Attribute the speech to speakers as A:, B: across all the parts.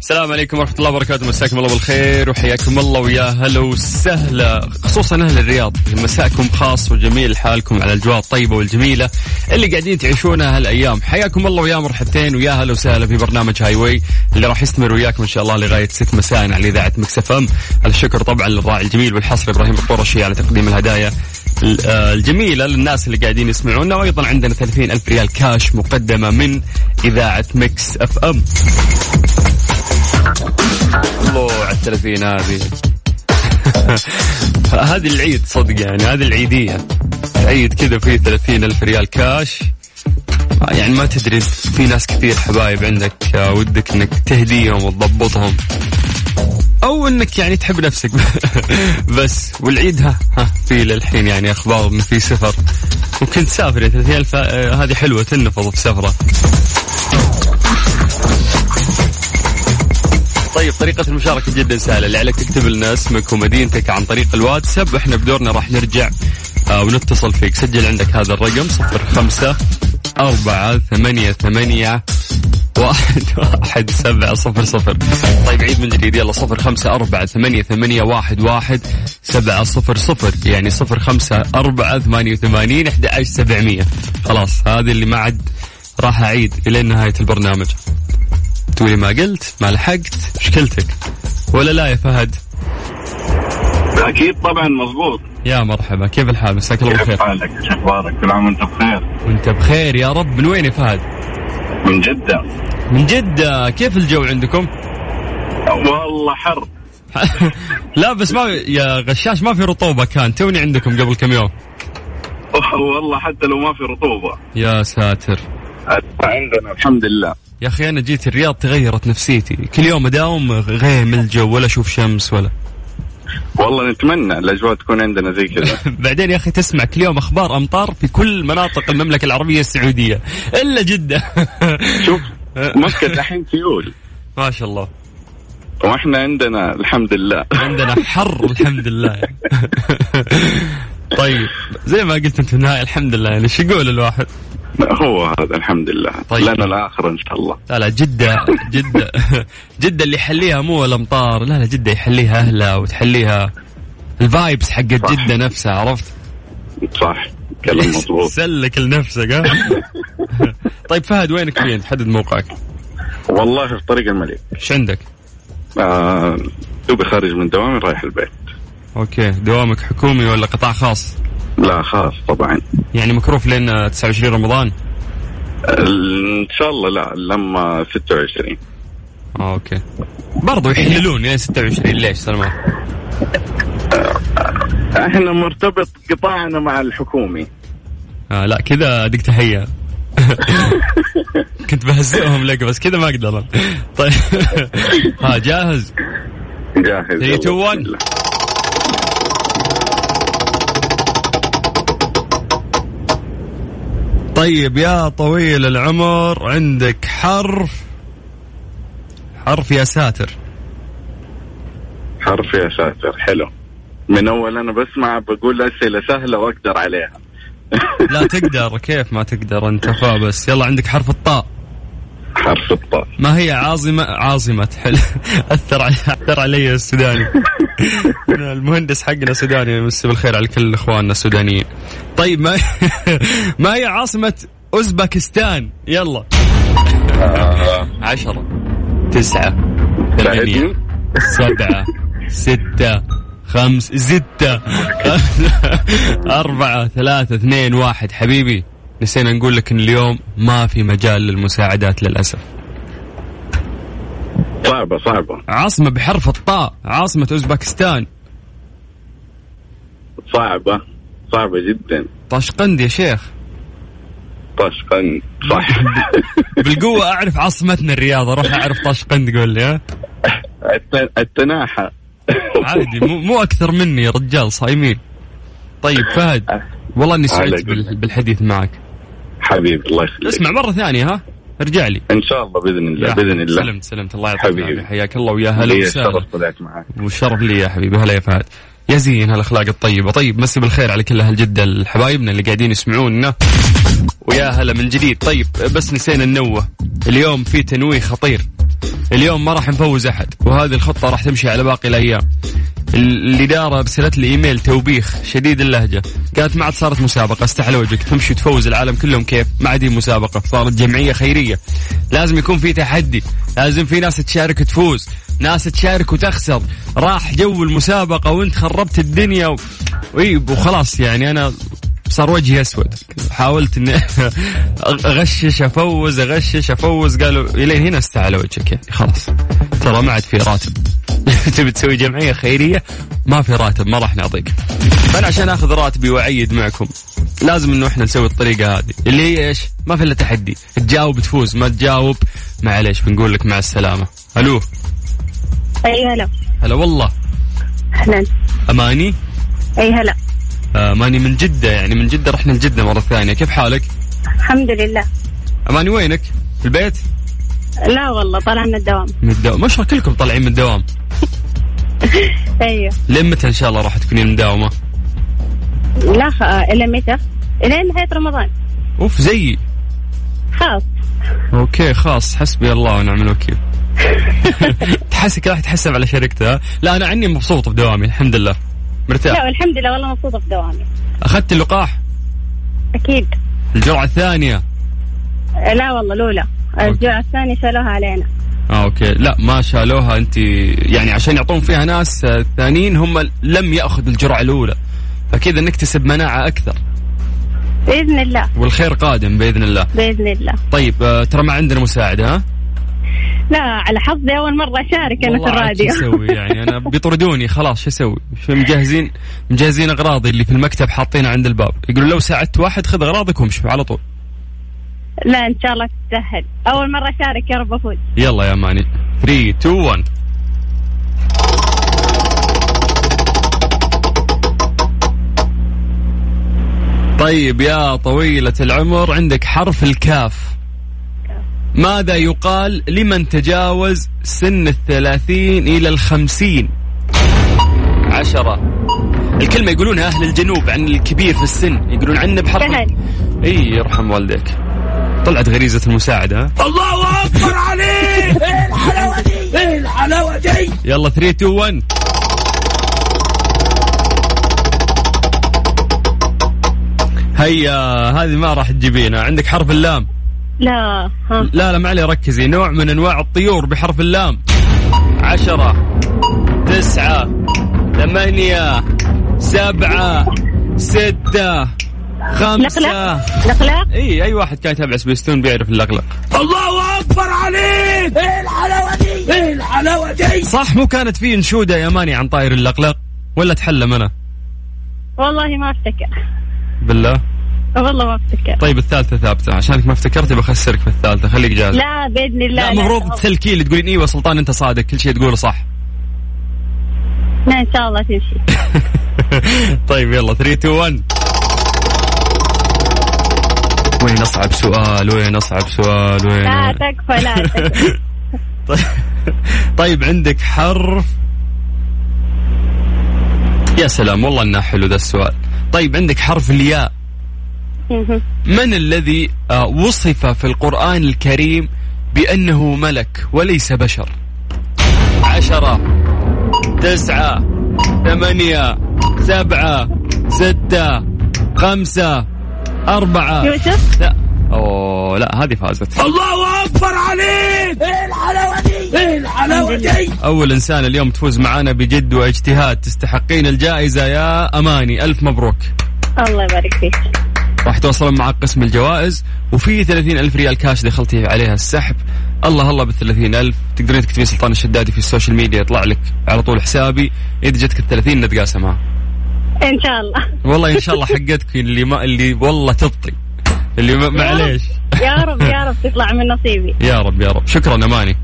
A: السلام عليكم ورحمة الله وبركاته مساكم الله بالخير وحياكم الله ويا هلا وسهلا خصوصا أهل الرياض مساكم خاص وجميل حالكم على الأجواء الطيبة والجميلة اللي قاعدين تعيشونها هالأيام حياكم الله ويا مرحبتين ويا هلا وسهلا في برنامج هاي واي اللي راح يستمر وياكم إن شاء الله لغاية 6 مساء على إذاعة مكسف أم على الشكر طبعا للراعي الجميل والحصر إبراهيم القرشي على تقديم الهدايا الجميله للناس اللي قاعدين يسمعونا وايضا عندنا 30 الف ريال كاش مقدمه من اذاعه مكس اف ام الله على الثلاثين هذه هذه العيد صدق يعني هذه العيديه العيد كذا فيه 30 الف ريال كاش يعني ما تدري في ناس كثير حبايب عندك ودك انك تهديهم وتضبطهم او انك يعني تحب نفسك بس والعيد ها, ها في للحين يعني اخبار انه في سفر ممكن تسافر 30000 آه، هذه حلوه تنفض في سفره طيب طريقة المشاركة جدا سهلة اللي عليك تكتب لنا اسمك ومدينتك عن طريق الواتساب احنا بدورنا راح نرجع آه ونتصل فيك سجل عندك هذا الرقم صفر خمسة أربعة ثمانية ثمانية واحد واحد سبعة صفر صفر طيب عيد من جديد يلا صفر خمسة أربعة ثمانية ثمانية واحد واحد سبعة صفر صفر يعني صفر خمسة أربعة ثمانية وثمانين أحد عشر سبعمية خلاص هذه اللي ما عد راح أعيد إلى نهاية البرنامج تقولي ما قلت ما لحقت مشكلتك ولا لا يا فهد
B: اكيد طبعا مضبوط
A: يا مرحبا كيف الحال مساك الله
B: كيف
A: بالخير
B: حالك ايش اخبارك كل عام وانت بخير
A: وانت بخير يا رب من وين يا فهد
B: من جده
A: من جدة كيف الجو عندكم
B: والله حر
A: لا بس ما يا غشاش ما في رطوبة كان توني عندكم قبل كم يوم
B: والله حتى لو ما في رطوبه
A: يا ساتر
B: عندنا الحمد لله
A: يا اخي انا جيت الرياض تغيرت نفسيتي كل يوم اداوم غيم الجو ولا اشوف شمس ولا
B: والله نتمنى الاجواء تكون عندنا زي كذا
A: بعدين يا اخي تسمع كل يوم اخبار امطار في كل مناطق المملكة العربية السعودية الا جدة
B: شوف مكه دحين سيول
A: ما شاء الله
B: واحنا عندنا الحمد لله
A: عندنا حر الحمد لله طيب زي ما قلت انت في النهايه الحمد لله يعني ايش يقول الواحد؟
B: هو هذا الحمد لله
A: طيب.
B: لنا الاخر ان شاء الله
A: لا لا جدة جدة جدة اللي يحليها مو الامطار لا لا جدة يحليها اهلها وتحليها الفايبس حقت
B: صح.
A: جدة نفسها عرفت؟
B: صح كلام مضبوط
A: سلك لنفسك ها؟ طيب فهد وينك فين؟ حدد موقعك،
B: والله في طريق الملك
A: ايش عندك؟
B: آه، دوبي خارج من دوامي رايح البيت
A: اوكي دوامك حكومي ولا قطاع خاص؟
B: لا خاص طبعا
A: يعني مكروف لين آه، 29 رمضان؟
B: ان شاء الله لا لما 26
A: آه، اوكي برضو يحللون لين 26 ليش سلمان؟
B: احنا مرتبط قطاعنا مع الحكومي
A: آه لا كذا اديك تحيه كنت بهزئهم لك بس كذا ما اقدر أنا. طيب ها جاهز
B: جاهز
A: Three, two,
B: يلا،
A: one.
B: بسم الله.
A: طيب يا طويل العمر عندك حرف حرف يا ساتر
B: حرف يا ساتر حلو من اول انا بسمع بقول اسئله سهله واقدر عليها
A: لا تقدر كيف ما تقدر انت فابس يلا عندك حرف الطاء
B: حرف الطاء
A: ما هي عاصمة عاصمة حلو أثر علي أثر علي السوداني المهندس حقنا سوداني يمسي بالخير على كل إخواننا السودانيين طيب ما ما هي عاصمة أوزبكستان يلا عشرة تسعة ثمانية
B: ساعدني
A: سبعة ستة خمس ستة أربعة ثلاثة اثنين واحد حبيبي نسينا نقول لك إن اليوم ما في مجال للمساعدات للأسف
B: صعبه صعبه
A: عاصمة بحرف الطاء عاصمة أوزبكستان
B: صعبه صعبه جدا
A: طشقند يا شيخ
B: طشقند صح
A: بالقوة أعرف عاصمتنا الرياض أروح أعرف طشقند قول لي ها
B: الت- التناحى
A: عادي مو, مو أكثر مني يا رجال صايمين طيب فهد والله إني سعدت بال- بالحديث معك
B: حبيبي الله يخليك
A: اسمع مرة ثانية ها ارجع لي
B: ان شاء الله باذن الله
A: يا
B: باذن الله
A: سلمت سلمت الله يعطيك
B: حبيبي.
A: العافية حياك الله ويا هلا
B: لي
A: وسهلا
B: الشرف طلعت معك
A: والشرف لي يا حبيبي هلا يا فهد يا زين هالاخلاق الطيبه طيب مسي بالخير على كل اهل جده الحبايبنا اللي قاعدين يسمعونا ويا هلا من جديد طيب بس نسينا ننوه اليوم في تنويه خطير اليوم ما راح نفوز احد وهذه الخطه راح تمشي على باقي الايام ال- الاداره ارسلت لي ايميل توبيخ شديد اللهجه قالت ما عاد صارت مسابقه استحل وجهك تمشي تفوز العالم كلهم كيف ما عاد هي مسابقه صارت جمعيه خيريه لازم يكون في تحدي لازم في ناس تشارك تفوز ناس تشارك وتخسر راح جو المسابقه وانت خربت الدنيا و... وإي، وخلاص يعني انا صار وجهي اسود حاولت اني اغشش افوز اغشش افوز قالوا الين هنا استعلى وجهك يعني خلاص ترى ما عاد في راتب تبي تسوي جمعيه خيريه ما في راتب ما راح نعطيك فانا عشان اخذ راتبي واعيد معكم لازم انه احنا نسوي الطريقه هذه اللي هي ايش؟ ما في الا تحدي تجاوب تفوز ما تجاوب معليش بنقول لك مع السلامه الو
C: اي هلا
A: هلا والله
C: اهلا
A: اماني
C: اي هلا
A: آه، اماني من جده يعني من جده رحنا لجده مره ثانيه كيف حالك؟
C: الحمد لله
A: اماني وينك؟ في البيت؟
C: لا والله طالع من الدوام
A: من الدوام ما شاء الله كلكم طالعين من الدوام
C: ايوه
A: لين متى ان شاء الله راح تكونين مداومه؟
C: لا خ... الى متى؟ الى نهايه رمضان
A: اوف زيي
C: خلاص
A: اوكي خلاص حسبي الله ونعم الوكيل تحسك راح تحسب على شركته ها؟ لا انا عني مبسوط بدوامي الحمد لله
C: لا
A: مرتاح
C: والحمد لله والله مبسوطه في دوامي
A: اخذت اللقاح
C: اكيد
A: الجرعه الثانيه
C: آه، لا والله لولا الجوع الثاني شالوها علينا
A: اه اوكي لا ما شالوها انت يعني عشان يعطون فيها ناس آه، ثانيين هم لم ياخذوا الجرعه الاولى فكذا نكتسب مناعه اكثر
C: باذن الله
A: والخير قادم باذن الله
C: باذن الله
A: طيب آه، ترى ما عندنا مساعد ها
C: لا على حظي اول مره اشارك انا
A: والله
C: في
A: عاد شو
C: الراديو
A: اسوي يعني انا بيطردوني خلاص شو اسوي؟ شو مجهزين مجهزين اغراضي اللي في المكتب حاطينها عند الباب، يقولوا لو ساعدت واحد خذ اغراضك وامشي على طول.
C: لا ان شاء الله تتسهل اول مره اشارك يا رب افوز
A: يلا يا ماني 3 2 1 طيب يا طويلة العمر عندك حرف الكاف ماذا يقال لمن تجاوز سن الثلاثين إلى الخمسين عشرة الكلمة يقولونها أهل الجنوب عن الكبير في السن يقولون عنه بحرف
C: سهل
A: اي يرحم والديك طلعت غريزة المساعدة ها
D: الله اكبر عليك ايه الحلاوه دي ايه الحلاوه دي
A: يلا 3 2 1 هيا هذه ما راح تجيبينها عندك حرف اللام
C: لا ها
A: لا لا ما عليه ركزي نوع من انواع الطيور بحرف اللام عشرة تسعة ثمانية سبعة ستة خمسة
C: لقلق لقلق
A: اي اي واحد كان يتابع سبيستون بيعرف اللقلق
D: الله اكبر عليك ايه الحلاوه دي ايه الحلاوه دي
A: صح مو كانت في انشودة يا ماني عن طاير اللقلق ولا تحلم انا
C: والله ما افتكر
A: بالله
C: والله ما افتكر
A: طيب الثالثة ثابتة عشانك ما افتكرتي بخسرك في الثالثة خليك جاهز
C: لا باذن الله
A: لا المفروض تسلكي لي تقولين ايوه سلطان انت صادق كل شيء تقوله صح
C: لا ان شاء الله تمشي
A: طيب يلا 3 2 1 وين اصعب سؤال وين اصعب سؤال وين
C: لا آه، تكفى لا تكفى
A: طيب- طيب عندك حرف يا سلام والله انه حلو ذا السؤال طيب عندك حرف الياء
C: مهم.
A: من الذي آه، وصف في القرآن الكريم بأنه ملك وليس بشر عشرة تسعة ثمانية سبعة ستة خمسة أربعة
C: يوسف
A: لا أوه لا هذه فازت
D: الله اكبر عليك ايه الحلاوه دي ايه الحلاوه دي
A: أول إنسان اليوم تفوز معانا بجد واجتهاد تستحقين الجائزة يا أماني ألف مبروك
C: الله يبارك فيك
A: راح توصلون مع قسم الجوائز وفي 30 ألف ريال كاش دخلتي عليها السحب الله الله بال 30 ألف تقدرين تكتبين سلطان الشدادي في السوشيال ميديا يطلع لك على طول حسابي إذا جتك ال 30 نتقاسمها
C: ان شاء الله
A: والله إن شاء الله حقتك اللي ما اللي والله تبطي اللي ما معليش
C: يا رب يا رب تطلع من نصيبي
A: يا رب يا رب شكرا أماني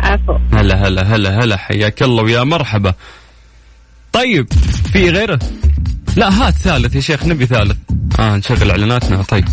C: عفو
A: هلا هلا هلا هلا حياك الله ويا مرحبا طيب في غيره لا هات ثالث يا شيخ نبي ثالث آه، اه نشغل اعلاناتنا طيب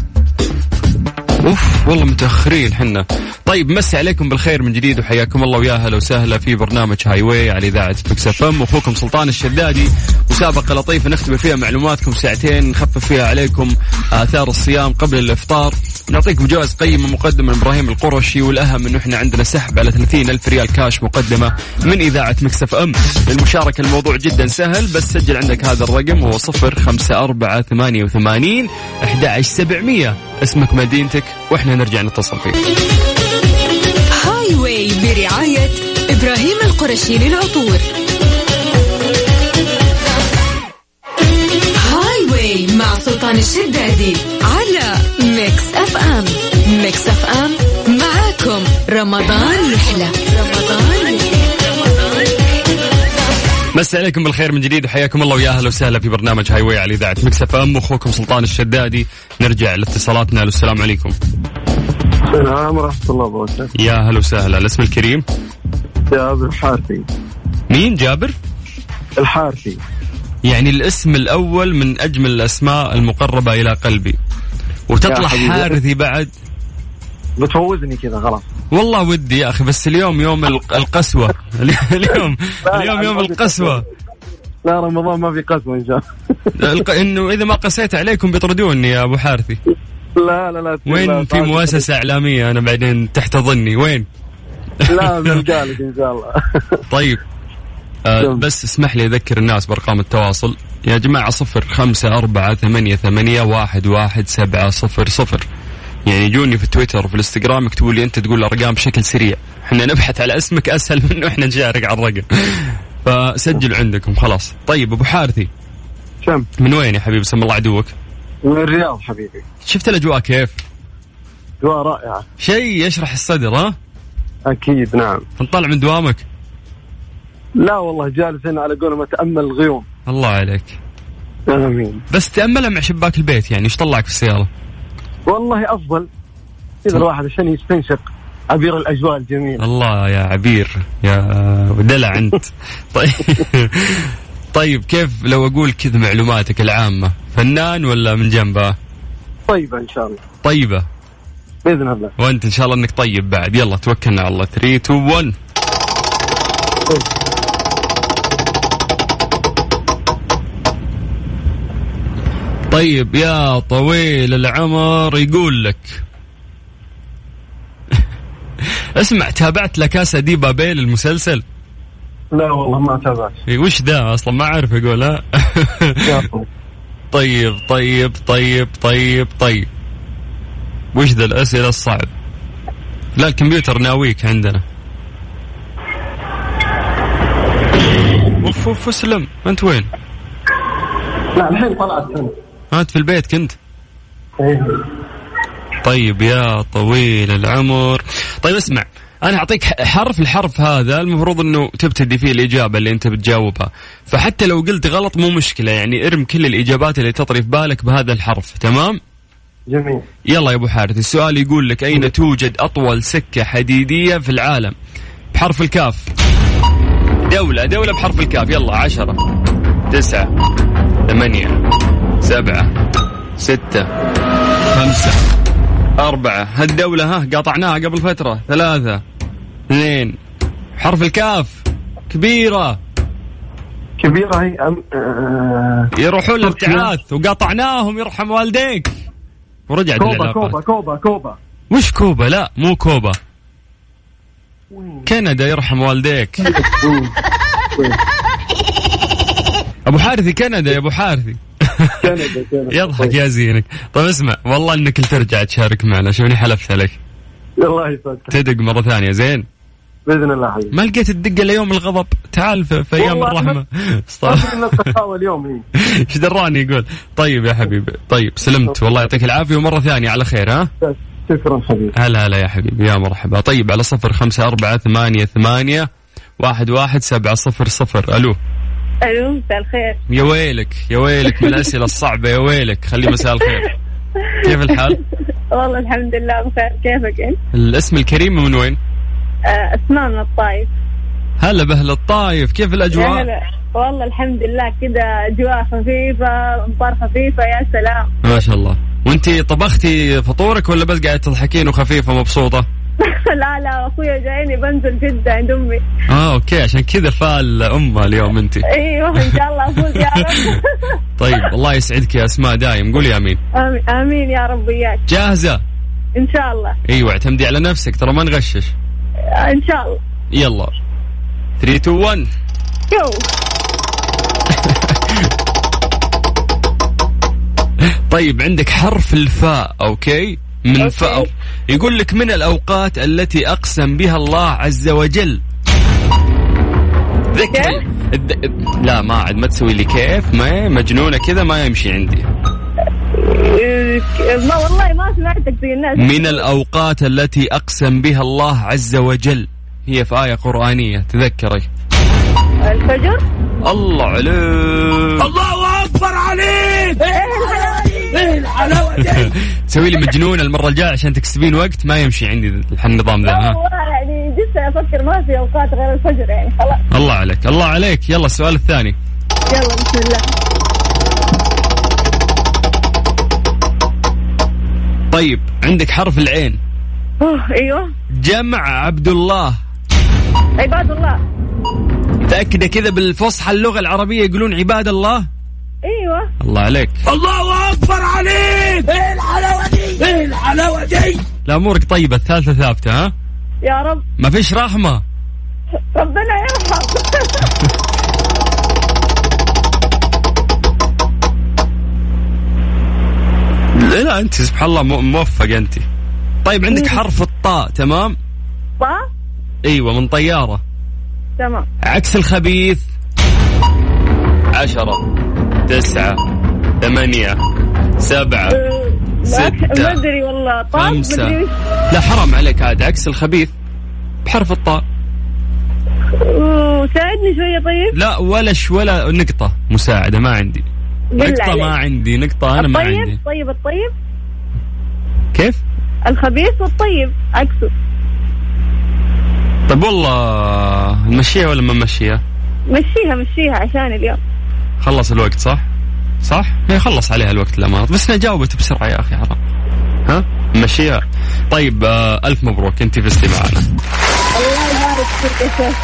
A: اوف والله متاخرين حنا طيب مسي عليكم بالخير من جديد وحياكم الله ويا هلا وسهلا في برنامج هاي واي على اذاعه مكس اف ام اخوكم سلطان الشدادي مسابقه لطيفه نختبر فيها معلوماتكم ساعتين نخفف فيها عليكم اثار الصيام قبل الافطار نعطيكم جوائز قيمه مقدمه من ابراهيم القرشي والاهم انه احنا عندنا سحب على 30 الف ريال كاش مقدمه من اذاعه مكس اف ام للمشاركه الموضوع جدا سهل بس سجل عندك هذا الرقم هو 05488 11700 اسمك مدينتك واحنا نرجع نتصل فيك
E: هاي واي برعاية إبراهيم القرشي للعطور هاي واي مع سلطان الشدادي على ميكس أف أم ميكس أف أم معاكم رمضان يحلى رمضان يحلى
A: مسا عليكم بالخير من جديد وحياكم الله ويا اهلا وسهلا في برنامج هاي واي على اذاعه مكس اف ام اخوكم سلطان الشدادي نرجع لاتصالاتنا السلام عليكم
F: السلام ورحمة الله وبركاته
A: يا اهلا وسهلا الاسم الكريم
F: جابر الحارثي
A: مين جابر
F: الحارثي
A: يعني الاسم الاول من اجمل الاسماء المقربه الى قلبي وتطلع
F: يا حبيبي.
A: حارثي بعد
F: بتفوزني كذا خلاص
A: والله ودي يا اخي بس اليوم يوم ال- القسوه اليوم
F: لا،
A: اليوم
F: لا،
A: يوم
F: ما في
A: القسوه
F: لا رمضان ما في قسوة إن شاء الله
A: الق- انه اذا ما قسيت عليكم بيطردوني يا ابو حارثي
F: لا لا لا لا،
A: وين في
F: تعال.
A: مؤسسه اعلاميه انا بعدين تحتضني وين
F: لا بنلقى لك إن شاء الله
A: طيب آه
F: يلا.
A: بس اسمح لي أذكر الناس بأرقام التواصل يا جماعة صفر خمسة أربعة ثمانية, ثمانية واحد, واحد سبعة صفر صفر يعني يجوني في تويتر وفي الانستغرام يكتبوا لي أنت تقول الأرقام بشكل سريع احنا نبحث على اسمك أسهل من إنه احنا نشارك على الرقم فسجلوا عندكم خلاص طيب أبو حارثي
F: كم
A: من وين يا حبيبي سم الله عدوك
F: من الرياض حبيبي
A: شفت الأجواء كيف
F: أجواء رائعة
A: شيء يشرح الصدر ها
F: أكيد نعم
A: نطلع من دوامك
F: لا والله جالس هنا على قولهم أتأمل الغيوم
A: الله عليك
F: آمين
A: بس تأملها مع شباك البيت يعني ايش طلعك في السيارة
F: والله أفضل إذا الواحد عشان يستنشق عبير الأجواء الجميلة
A: الله يا عبير يا دلع انت طيب طيب كيف لو اقول كذا معلوماتك العامه فنان ولا من جنبه
F: طيبة إن شاء الله
A: طيبه
F: بإذن الله
A: وانت ان شاء الله انك طيب بعد يلا توكلنا على الله 3 2 1 طيب يا طويل العمر يقول لك اسمع تابعت لكاسا دي بابيل المسلسل
F: لا والله ما تابعت
A: إيه، وش ذا اصلا ما اعرف اقول ها
F: يا رب.
A: طيب طيب طيب طيب طيب وش ذا الاسئله الصعب لا الكمبيوتر ناويك عندنا اوف اوف اسلم انت وين؟
F: لا الحين طلعت أنا.
A: انت في البيت كنت؟
F: إيه.
A: طيب يا طويل العمر طيب اسمع انا اعطيك ح- حرف الحرف هذا المفروض انه تبتدي فيه الاجابه اللي انت بتجاوبها فحتى لو قلت غلط مو مشكله يعني ارم كل الاجابات اللي تطري في بالك بهذا الحرف تمام
F: جميل
A: يلا يا ابو حارث السؤال يقول لك اين توجد اطول سكه حديديه في العالم بحرف الكاف دولة دولة بحرف الكاف يلا عشرة تسعة ثمانية سبعة ستة خمسة أربعة هالدولة ها قطعناها قبل فترة ثلاثة اثنين حرف الكاف كبيرة
F: كبيرة هي أم... آه...
A: يروحون الابتعاث وقطعناهم يرحم والديك ورجعت
F: كوبا
A: العلاقات.
F: كوبا كوبا كوبا
A: وش كوبا لا مو كوبا كندا يرحم والديك ابو حارثي كندا يا ابو حارثي
F: كندا كندا
A: يضحك يا زينك طيب اسمع والله انك ترجع تشارك معنا شوفني حلفت عليك
F: الله يسعدك
A: تدق مره ثانيه زين
F: باذن الله حبيبي
A: ما لقيت الدقه الا يوم الغضب تعال في, في ايام
F: والله
A: الرحمه طيب.
F: أعتقد ان السخاوه اليوم هي
A: ايش دراني يقول طيب يا حبيبي طيب سلمت والله يعطيك العافيه ومره ثانيه على خير ها
F: شكرا حبيبي
A: هلا هلا يا حبيبي يا مرحبا طيب على صفر خمسة أربعة ثمانية ثمانية واحد واحد سبعة صفر صفر ألو
C: الو مساء الخير
A: يا ويلك يا ويلك من الأسئلة الصعبة يا ويلك خلي مساء الخير كيف الحال؟
C: والله الحمد لله بخير كيفك انت؟
A: الاسم الكريم من وين؟
C: آه، اسماء من الطايف
A: هلا بهل الطايف كيف
C: يا
A: الأجواء؟
C: هلا والله الحمد لله كذا اجواء خفيفه امطار خفيفه يا سلام
A: ما شاء الله وانتي طبختي فطورك ولا بس قاعدة تضحكين وخفيفة مبسوطة؟
C: لا لا اخويا جايني بنزل جدة عند امي
A: اه اوكي عشان كذا فال امها اليوم انت
C: ايوه ان شاء الله افوز يا رب
A: طيب الله يسعدك يا اسماء دايم قولي امين
C: آمين- امين يا رب وياك
A: جاهزه
C: ان شاء الله
A: ايوه اعتمدي على نفسك ترى ما نغشش
C: ان شاء الله
A: يلا 3 2 1
C: يو
A: طيب عندك حرف الفاء اوكي من فأر يقول لك من الاوقات التي اقسم بها الله عز وجل ذكري الد- لا ما عاد ما تسوي لي كيف ما مجنونه كذا ما يمشي عندي
C: ما والله ما سمعتك زي الناس
A: من الاوقات التي اقسم بها الله عز وجل هي في ايه قرانيه تذكري
C: الفجر
A: الله عليك
D: الله اكبر عليك
C: ايه الحلاوة دي؟
D: ايه الحلاوه دي
A: تسوي لي مجنون المره الجايه عشان تكسبين وقت ما يمشي عندي النظام ذا ها
C: والله يعني جالسة افكر ما في اوقات غير الفجر يعني خلاص
A: الله عليك الله عليك يلا السؤال الثاني
C: يلا بسم الله
A: طيب عندك حرف العين
C: أوه، ايوه
A: جمع عبد الله
C: عباد الله
A: متأكدة كذا بالفصحى اللغة العربية يقولون عباد الله
C: ايوه
A: الله عليك
D: الله اكبر عليك ايه الحلاوه دي ايه الحلاوه دي
A: لا أمورك طيبة الثالثة ثابتة ها
C: يا رب
A: ما فيش رحمة
C: ربنا يرحم
A: لا لا أنت سبحان الله مو- موفق أنت طيب عندك حرف الطاء تمام
C: با
A: أيوة من طيارة
C: تمام
A: عكس الخبيث عشرة تسعة ثمانية سبعة
C: لا،
A: ستة.
C: ما ادري والله طاب
A: خمسة
C: مدري وش
A: لا حرام عليك عاد عكس الخبيث بحرف الطاء
C: أوه، ساعدني شويه طيب
A: لا ولا ش ولا نقطة مساعدة ما عندي
C: بالله
A: نقطة ما
C: عليك.
A: عندي نقطة أنا ما عندي
C: الطيب طيب الطيب
A: كيف؟
C: الخبيث والطيب عكسه
A: طيب والله نمشيها ولا ما نمشيها؟
C: مشيها مشيها عشان اليوم
A: خلص الوقت صح؟ صح؟ هي خلص عليها الوقت الأمانة بس أنا جاوبت بسرعة يا أخي حرام ها؟ نمشيها طيب آه ألف مبروك أنت فزتي معنا
C: الله يبارك فيك يا شيخ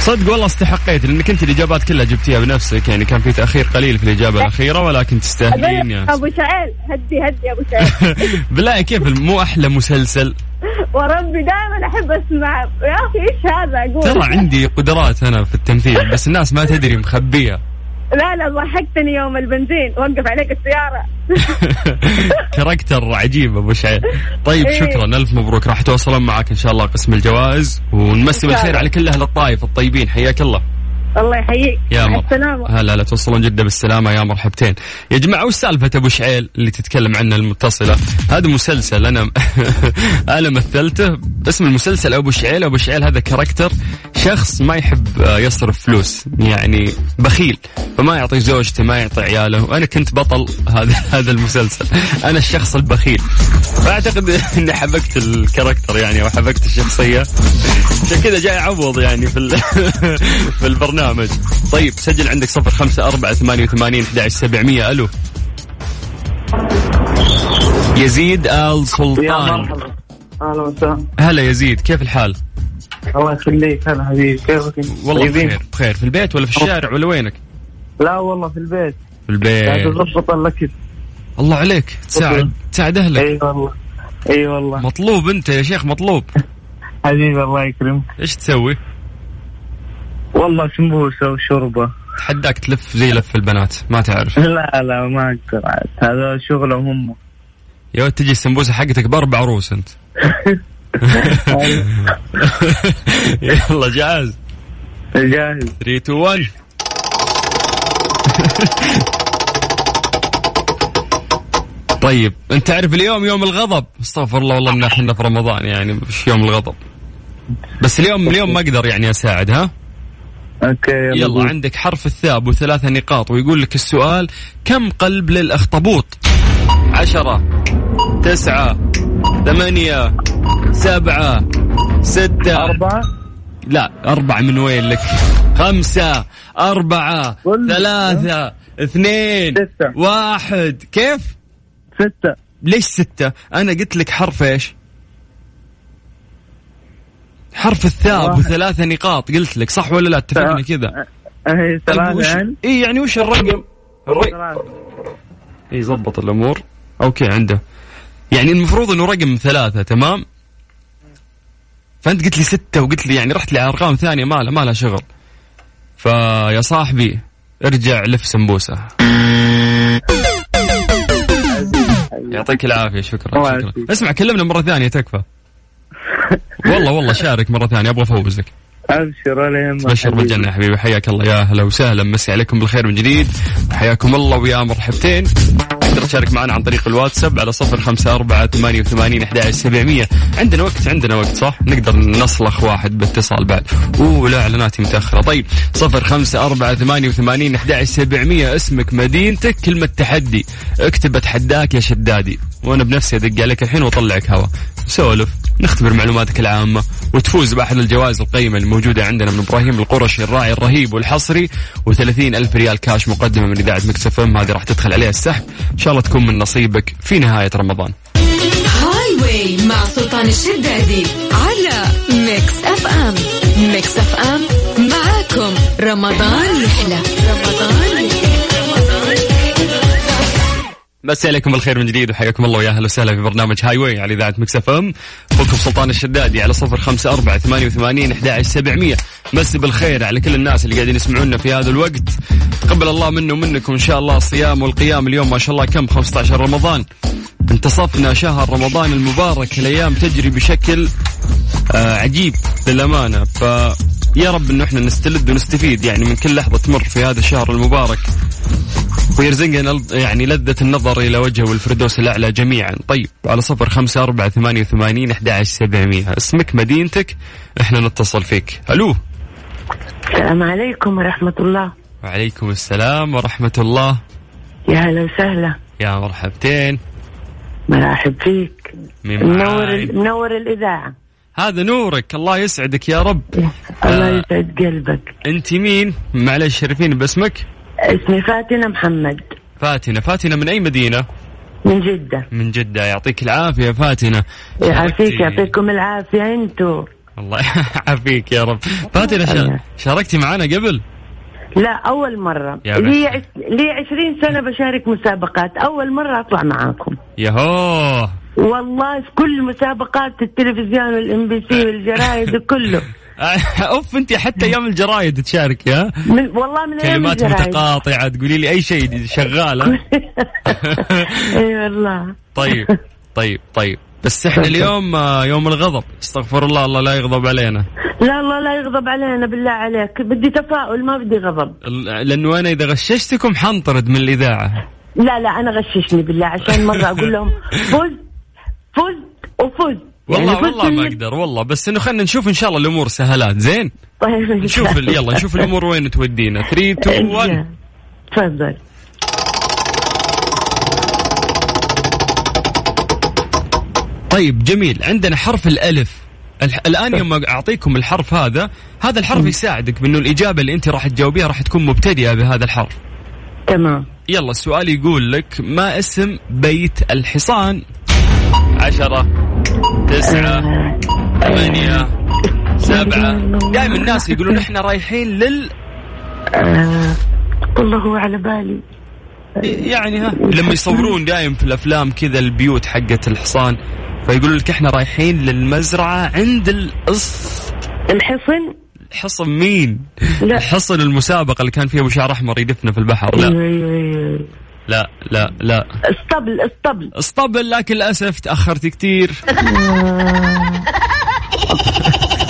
A: صدق والله استحقيت لأنك أنت الإجابات كلها جبتيها بنفسك يعني كان في تأخير قليل في الإجابة الأخيرة ولكن تستاهلين يا
C: ابو شعيل هدي هدي يا ابو شعيل
A: بالله كيف مو أحلى مسلسل
C: وربي دائما احب اسمع يا اخي ايش هذا اقول
A: ترى عندي قدرات أنا في التمثيل بس الناس ما تدري مخبيها
C: لا لا ضحكتني يوم البنزين وقف عليك السياره
A: كاركتر عجيب ابو شعيب طيب
C: إيه.
A: شكرا الف مبروك راح توصلون معك ان شاء الله قسم الجوائز ونمسي
C: إن شاء
A: بالخير
C: الله.
A: على كل اهل الطايف الطيبين حياك الله
C: الله يحييك
A: يا
C: مع
A: مرحبا
C: السلامه
A: هلا لا توصلون جده بالسلامه يا مرحبتين يا جماعه وش سالفه ابو شعيل اللي تتكلم عنه المتصله هذا مسلسل انا انا مثلته اسم المسلسل ابو شعيل ابو شعيل هذا كاركتر شخص ما يحب آه، يصرف فلوس يعني بخيل فما يعطي زوجته ما يعطي عياله وانا كنت بطل هذا هذا المسلسل انا الشخص البخيل فاعتقد اني حبكت الكاركتر يعني وحبكت الشخصيه عشان كذا جاي عوض يعني في ال- في البرنامج طيب سجل عندك صفر خمسة أربعة ثمانية وثمانين سبعمية ألو يزيد آل
F: يا
A: سلطان
F: مرحبا اهلا وسهلا
A: هلا يزيد كيف الحال؟
F: الله يخليك هلا حبيبي كيفك
A: والله
F: طيبين؟
A: بخير بخير في البيت ولا في الشارع ولا وينك؟
F: لا والله في البيت
A: في البيت
F: قاعد اضبط الاكل
A: الله عليك تساعد تساعد أهلك
F: اي والله اي والله
A: مطلوب أنت يا شيخ مطلوب
F: حبيبي الله يكرمك
A: إيش تسوي؟
F: والله سمبوسه وشوربه
A: تحداك تلف زي لف البنات ما تعرف
F: لا لا ما اقدر عاد. هذا شغلهم هم
A: يا ولد تجي السمبوسه حقتك باربع عروس انت يلا جاهز
F: جاهز
A: 3 2 1 طيب انت تعرف اليوم يوم الغضب استغفر الله والله ان احنا في رمضان يعني مش يوم الغضب بس اليوم اليوم ما اقدر يعني اساعد ها
F: اوكي
A: يلا
F: قول.
A: عندك حرف الثاء وثلاثة نقاط ويقول لك السؤال كم قلب للأخطبوط عشرة تسعة ثمانية سبعة ستة
F: اربعه
A: لا أربعة من وين لك خمسة أربعة
F: قل.
A: ثلاثة اثنين
F: ستة.
A: واحد كيف
F: سته
A: ليش ستة أنا قلت لك حرف إيش حرف الثاء
G: واحد.
A: بثلاثة نقاط قلت لك صح ولا لا اتفقنا يعني كذا
G: اي
A: طيب وش
G: ثلاثة
A: اي يعني وش الرقم الرقم
G: ثلاثة
A: اي زبط الامور اوكي عنده يعني المفروض انه رقم ثلاثة تمام فانت قلت لي ستة وقلت لي يعني رحت لي على ارقام ثانية ما لها ما لها شغل فيا صاحبي ارجع لف سمبوسة يعطيك العافية شكرا
G: الله
A: شكرا
G: يعافيك.
A: اسمع كلمنا مرة ثانية تكفى والله والله شارك مرة ثانية ابغى افوزك
G: ابشر ولا يهمك
A: تبشر
G: حبيبي.
A: بالجنة يا حبيبي حياك الله يا هلا وسهلا مسي عليكم بالخير من جديد حياكم الله ويا مرحبتين تقدر تشارك معنا عن طريق الواتساب على صفر خمسة أربعة ثمانية وثمانين أحد سبعمية عندنا وقت عندنا وقت صح نقدر نصلخ واحد باتصال بعد أوه لا إعلاناتي متأخرة طيب صفر خمسة أربعة ثمانية وثمانين أحد سبعمية اسمك مدينتك كلمة تحدي اكتب أتحداك يا شدادي وأنا بنفسي أدق عليك الحين وأطلعك هوا سولف نختبر معلوماتك العامة وتفوز بأحد الجوائز القيمة الموجودة عندنا من إبراهيم القرشي الراعي الرهيب والحصري و30 ألف ريال كاش مقدمة من إذاعة مكسفم هذه راح تدخل عليها السحب إن شاء الله تكون من نصيبك في نهاية رمضان
E: هاي واي مع سلطان الشدادي على ميكس اف ام ميكس اف ام معاكم رمضان يحلى رمضان
A: مسي عليكم بالخير من جديد وحياكم الله ويا اهلا وسهلا في برنامج هاي واي على اذاعه مكس اف ام اخوكم سلطان الشدادي على صفر خمسة أربعة ثمانية وثمانين أحد سبعمية مسي بالخير على كل الناس اللي قاعدين يسمعونا في هذا الوقت تقبل الله منه ومنكم ان شاء الله الصيام والقيام اليوم ما شاء الله كم 15 رمضان انتصفنا شهر رمضان المبارك الايام تجري بشكل آه عجيب للامانه ف يا رب انه احنا نستلد ونستفيد يعني من كل لحظه تمر في هذا الشهر المبارك ويرزقنا ال- يعني لذة النظر إلى وجهه والفردوس الأعلى جميعا طيب على صفر خمسة أربعة ثمانية وثمانين أحد عشر سبعمية اسمك مدينتك إحنا نتصل فيك ألو
H: السلام عليكم ورحمة الله
A: وعليكم السلام ورحمة الله
H: يا هلا وسهلا
A: يا مرحبتين
H: مرحب فيك
A: مين
H: منور
A: معاي؟
H: ال- منور الإذاعة
A: هذا نورك الله يسعدك يا رب
H: الله
A: آه.
H: يسعد قلبك
A: أنت مين معلش شرفين باسمك
H: اسمي فاتنة محمد
A: فاتنة فاتنة من أي مدينة
H: من جدة
A: من جدة يعطيك العافية يا فاتنة
H: يعافيك
A: شاركتي-
H: يعطيكم العافية انتو
A: الله يعافيك يا رب فاتنة شا- شاركتي معنا قبل
H: لا أول مرة
A: يا
H: لي
A: بختك.
H: عش- لي 20 سنة بشارك مسابقات أول مرة أطلع معاكم
A: يهوه
H: والله في كل مسابقات التلفزيون والام بي سي والجرايد وكله
A: اوف انت آه، حتى ايام الجرايد تشارك يا
H: من والله من ايام
A: كلمات
H: الجرايد
A: متقاطعه تقولي لي اي شيء شغاله
H: اي والله
A: طيب طيب طيب بس احنا اليوم آه، يوم الغضب استغفر الله الله لا يغضب علينا
H: لا الله لا يغضب علينا بالله عليك بدي تفاؤل ما بدي غضب
A: ال- لانه انا اذا غششتكم حنطرد من الاذاعه
H: لا لا انا غششني بالله عشان مره اقول لهم فزت فزت وفزت يعني
A: والله
H: فزت
A: والله ما
H: اللي-
A: اقدر والله بس انه خلينا نشوف ان شاء الله الامور سهلات زين
H: طيب إن شاء
A: نشوف ال-
H: الله.
A: يلا نشوف الامور وين تودينا 3 2 1
H: تفضل
A: طيب جميل عندنا حرف الالف الح- الان يوم اعطيكم الحرف هذا هذا الحرف يساعدك بانه الاجابه اللي انت راح تجاوبيها راح تكون مبتدئه بهذا الحرف
H: تمام
A: يلا السؤال يقول لك ما اسم بيت الحصان عشرة تسعة
H: آه،
A: ثمانية سبعة دائما الناس يقولون احنا رايحين لل
H: آه، والله هو على بالي
A: يعني ها لما يصورون دائم في الافلام كذا البيوت حقت الحصان فيقولوا لك احنا رايحين للمزرعة عند الأص
H: الحصن
A: حصن مين؟
H: لا.
A: حصن المسابقة اللي كان فيها ابو شعر احمر يدفنا في البحر
H: أيوة،
A: لا
H: أيوة، أيوة.
A: لا لا لا
H: اسطبل اسطبل
A: اسطبل لكن للاسف تاخرت كثير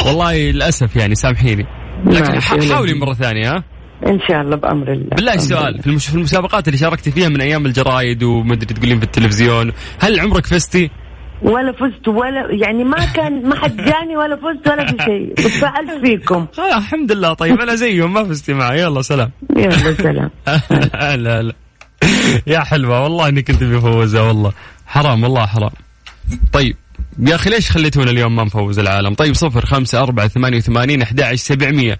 A: والله للاسف يعني سامحيني لكن
H: ماشي،
A: ح- حاولي مرة ثانية ها
H: ان شاء الله بامر الله
A: بالله
H: بأمر
A: سؤال
H: الله.
A: في المش- في المسابقات اللي شاركتي فيها من ايام الجرايد ومدري تقولين في التلفزيون هل عمرك فزتي؟
H: ولا فزت ولا يعني ما كان ما حد جاني ولا فزت ولا في شيء بس سالت فيكم
A: آه الحمد لله طيب انا زيهم ما فزتي معي يلا سلام
H: يلا سلام
A: لا لا يا حلوة والله اني كنت بفوزها والله حرام والله حرام طيب يا اخي ليش خليتونا اليوم ما نفوز العالم؟ طيب صفر خمسة أربعة ثمانية وثمانين أحد عشر سبعمية.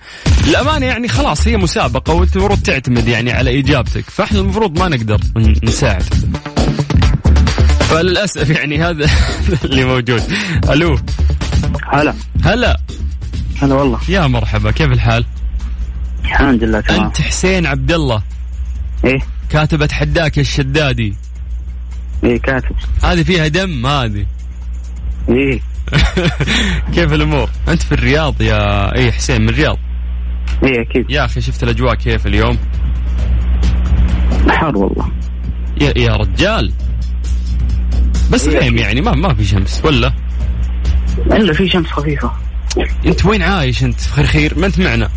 A: الأمانة يعني خلاص هي مسابقة وأنت المفروض تعتمد يعني على إجابتك، فإحنا المفروض ما نقدر ن- نساعد. فللأسف يعني هذا اللي موجود. ألو
G: هلا
A: هلا
G: هلا والله
A: يا مرحبا كيف الحال؟
G: الحمد لله تمام
A: انت حسين عبد الله
G: ايه
A: كاتب اتحداك يا الشدادي
G: ايه كاتب
A: هذه فيها دم هذه
G: ايه
A: كيف الامور؟ انت في الرياض يا اي حسين من الرياض
G: ايه اكيد
A: يا اخي شفت الاجواء كيف اليوم؟
G: حار والله
A: يا, يا رجال بس غيم يعني ما ما في شمس ولا
G: الا في شمس خفيفه
A: انت وين عايش انت في خرخير ما انت معنا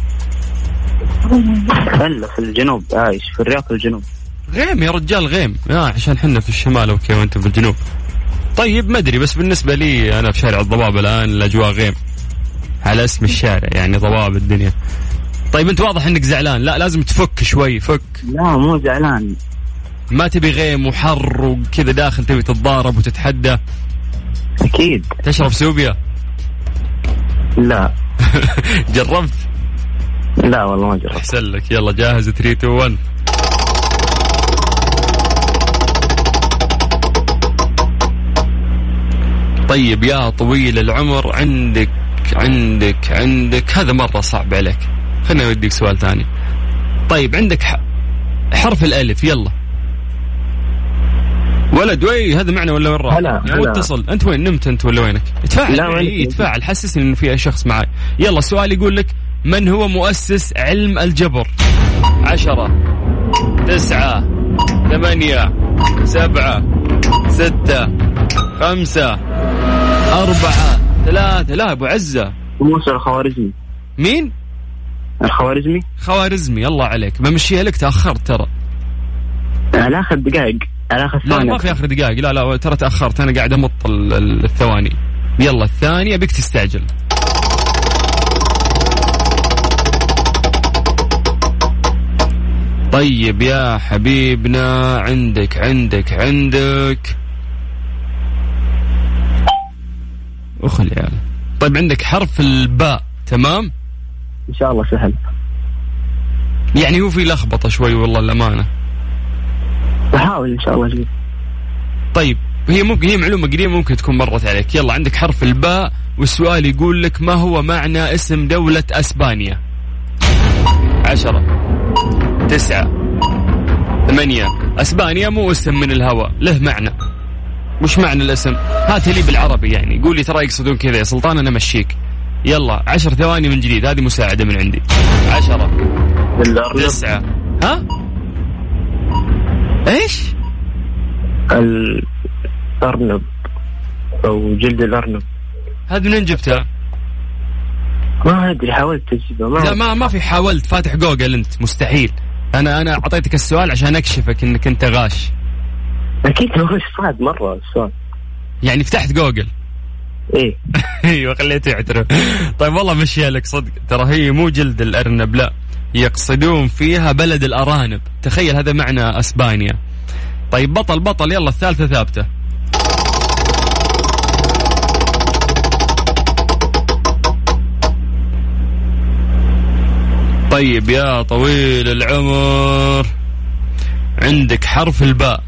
G: الا في الجنوب عايش في الرياض في الجنوب
A: غيم يا رجال غيم آه عشان حنا في الشمال اوكي وانتم في الجنوب طيب ما ادري بس بالنسبه لي انا في شارع الضباب الان الاجواء غيم على اسم الشارع يعني ضباب الدنيا طيب انت واضح انك زعلان لا لازم تفك شوي فك
G: لا مو زعلان
A: ما تبي غيم وحر وكذا داخل تبي تتضارب وتتحدى
G: اكيد
A: تشرب سوبيا
G: لا
A: جربت
G: لا والله ما جربت
A: احسن لك يلا جاهز 3 2 1 طيب يا طويل العمر عندك عندك عندك هذا مره صعب عليك خلينا نوديك سؤال ثاني طيب عندك ح- حرف الالف يلا ولد وي هذا معنى ولا وين
G: هلا،
A: هلا
G: هلا.
A: اتصل انت وين نمت انت ولا وينك تفاعل
G: لا،
A: معي
G: وينك؟
A: إيه، تفاعل حسسني انه في شخص معي يلا السؤال يقول لك من هو مؤسس علم الجبر عشرة تسعة ثمانية سبعة ستة خمسة أربعة ثلاثة لا أبو عزة
G: موسى الخوارزمي
A: مين
G: الخوارزمي
A: خوارزمي الله عليك بمشيها لك تأخرت ترى
G: على اخر دقائق على اخر
A: لا ما
G: ثواني
A: في آخر دقائق لا لا ترى تأخرت أنا قاعد أمط ال- ال- الثواني يلا الثانية بك تستعجل طيب يا حبيبنا عندك عندك عندك اخ العيال طيب عندك حرف الباء تمام
G: ان شاء الله سهل
A: يعني هو في لخبطه شوي والله الامانه
G: بحاول ان شاء الله اجيب
A: طيب هي ممكن هي معلومه قديمه ممكن تكون مرت عليك يلا عندك حرف الباء والسؤال يقول لك ما هو معنى اسم دولة اسبانيا عشرة تسعة ثمانية اسبانيا مو اسم من الهوى له معنى وش معنى الاسم هات لي بالعربي يعني قول لي ترى يقصدون كذا يا سلطان انا مشيك يلا عشر ثواني من جديد هذه مساعدة من عندي عشرة
G: الارنب
A: تسعة ها ايش
G: الارنب او جلد الارنب
A: هذه منين جبتها
G: ما ادري حاولت اجيبه
A: لا
H: اه.
G: ما
A: ما ما في حاولت فاتح جوجل انت مستحيل انا انا اعطيتك السؤال عشان اكشفك انك انت غاش
G: اكيد هو صعب مره السؤال
A: يعني فتحت جوجل
G: ايه
A: ايوه خليته يعترف طيب والله مشي لك صدق ترى هي مو جلد الارنب لا يقصدون فيها بلد الارانب تخيل هذا معنى اسبانيا طيب بطل بطل يلا الثالثه ثابته طيب يا طويل العمر عندك حرف الباء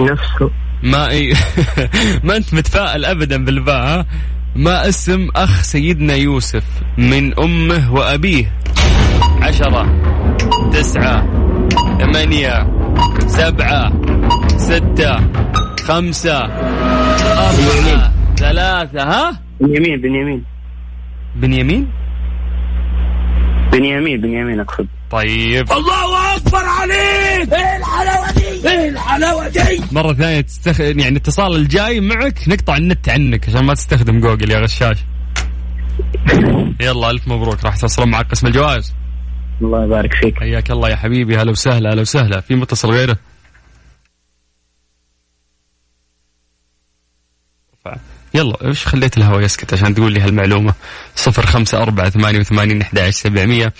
G: نفسه
A: ما إي... ما انت متفائل ابدا بالباء ها؟ ما اسم اخ سيدنا يوسف من امه وابيه عشرة تسعة ثمانية سبعة ستة خمسة أربعة ثلاثة ها
G: بنيامين بنيامين
A: بنيامين
G: بنيامين بنيامين اقصد
A: طيب
D: الله اكبر عليك ايه الحلاوه دي ايه الحلاوه دي
A: مرة ثانية تستخ... يعني الاتصال الجاي معك نقطع النت عنك عشان ما تستخدم جوجل يا غشاش يلا ألف مبروك راح تحصلون معك قسم الجوائز
G: الله يبارك فيك
A: حياك الله يا حبيبي هلا وسهلا هلا وسهلا في متصل غيره يلا ايش خليت الهواء يسكت عشان تقول لي هالمعلومة صفر خمسة أربعة ثمانية وثمانين أحد عشر سبعمية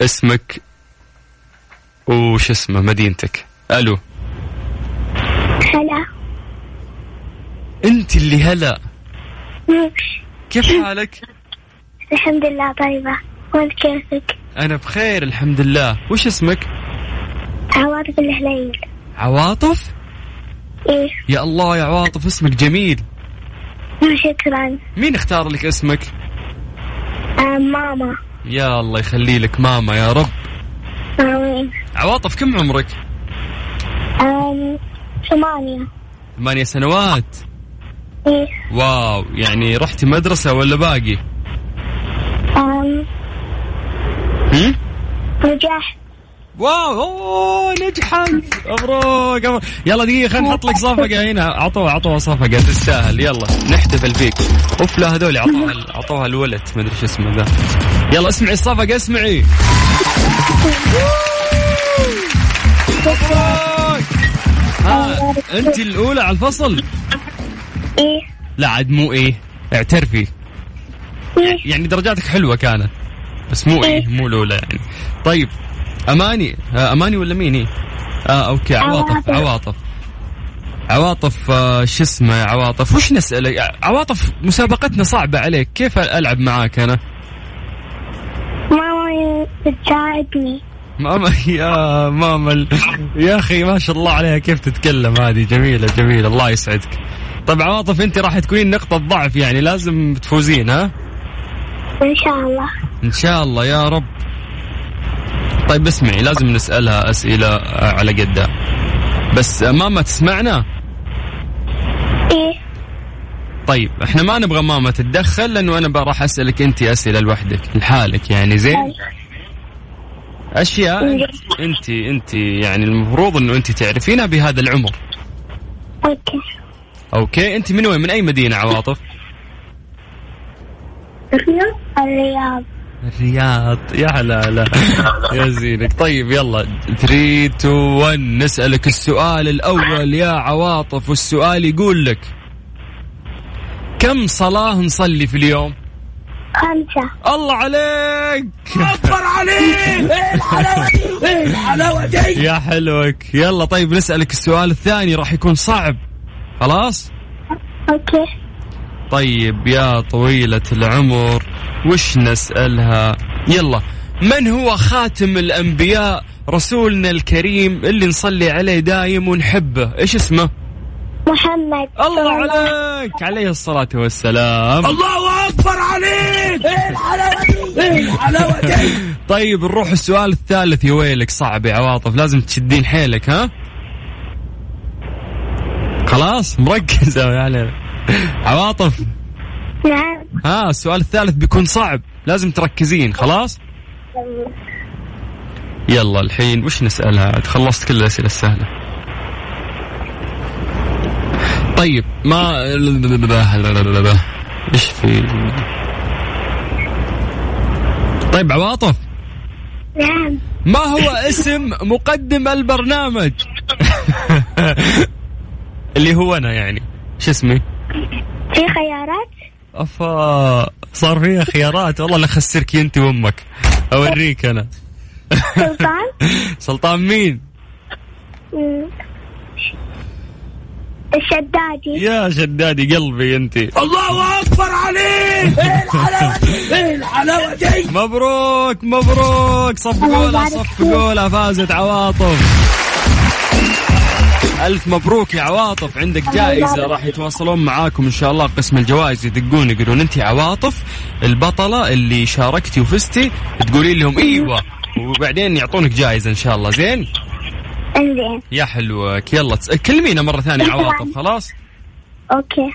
A: اسمك وش اسمه مدينتك ألو
I: هلا
A: أنت اللي هلا كيف حالك؟
I: الحمد لله طيبة وانت كيفك؟
A: أنا بخير الحمد لله وش اسمك؟
I: عوارض الهليل
A: عواطف؟
I: ايه
A: يا الله يا عواطف اسمك جميل
I: شكرا
A: مين اختار لك اسمك؟
I: آه، ماما
A: يا الله يخلي لك ماما يا رب
I: آمين
A: عواطف كم عمرك؟
I: آم، ثمانية
A: ثمانية سنوات
I: إيه
A: واو يعني رحتي مدرسة ولا باقي؟
I: آم،
A: هم؟
I: نجاح
A: واو اوه نجحت مبروك مبروك. يلا دقيقة خلينا نحط لك صفقة هنا عطوها عطوها صفقة تستاهل يلا نحتفل فيك اوف لا هذول عطوها عطوها الولد ما ادري شو اسمه ذا يلا اسمعي الصفقة اسمعي مبروك ها انت الاولى على الفصل
I: إيه
A: لا عاد مو ايه اعترفي
I: إيه
A: يعني درجاتك حلوه كانت بس مو ايه مو الاولى يعني طيب اماني آه، اماني ولا مين إيه؟ اه اوكي عواطف
I: عواطف.
A: عواطف عواطف آه، شو اسمه يا عواطف وش نسألك عواطف مسابقتنا صعبة عليك كيف ألعب معاك أنا
I: ماما بتساعدني
A: ماما يا ماما ال- يا أخي ما شاء الله عليها كيف تتكلم هذه جميلة جميلة الله يسعدك طب عواطف أنت راح تكونين نقطة ضعف يعني لازم تفوزين ها
I: إن شاء الله
A: ان شاء الله يا رب طيب اسمعي لازم نسالها اسئله آه، على قدها بس آه، ماما تسمعنا
I: إيه
A: طيب احنا ما نبغى ماما تتدخل لانه انا بقى راح اسالك انت اسئله لوحدك لحالك يعني زين
I: طيب.
A: اشياء انت انت يعني المفروض انه انت تعرفينها بهذا العمر
I: أوكي
A: اوكي انت من وين من اي مدينه عواطف
I: الرياض
A: الرياض يا هلا هلا يا زينك طيب يلا 3 2 1 نسألك السؤال الأول يا عواطف والسؤال يقول لك كم صلاة نصلي في اليوم؟
I: خمسة
A: الله عليك
D: اكبر عليك ايه الحلاوه دي ايه الحلاوه دي
I: طيب.
A: يا حلوك يلا طيب نسألك السؤال الثاني راح يكون صعب خلاص؟
I: أوكي
A: طيب يا طويلة العمر وش نسألها يلا من هو خاتم الأنبياء رسولنا الكريم اللي نصلي عليه دايم ونحبه إيش اسمه
I: محمد
A: الله عليك عليه الصلاة والسلام
D: الله اكبر عليك ايه الحلاوه دي ايه الحلاوه دي
A: طيب نروح السؤال الثالث يا ويلك صعب يا عواطف لازم تشدين حيلك ها خلاص مركزة يا علينا عواطف
I: نعم
A: ها السؤال الثالث بيكون صعب لازم تركزين خلاص يلا الحين وش نسألها عاد؟ خلصت كل الأسئلة السهلة طيب ما ايش في طيب عواطف
I: نعم
A: ما هو اسم مقدم البرنامج اللي هو انا يعني شو اسمي
I: في خيارات
A: افا صار فيها خيارات والله لا اخسرك انت وامك اوريك انا
I: سلطان
A: سلطان مين
I: مم. الشدادي
A: يا شدادي قلبي انت
D: الله اكبر عليك ايه الحلاوه دي ايه الحلاوه دي
A: مبروك مبروك صفقوا لها صفقوا لها فازت عواطف ألف مبروك يا عواطف عندك جائزة راح يتواصلون معاكم إن شاء الله قسم الجوائز يدقون يقولون أنت عواطف البطلة اللي شاركتي وفزتي تقولين لهم إيوه وبعدين يعطونك جائزة إن شاء الله زين
I: انزين
A: يا حلوك يلا تس... كلمينا مرة ثانية عواطف خلاص
I: اوكي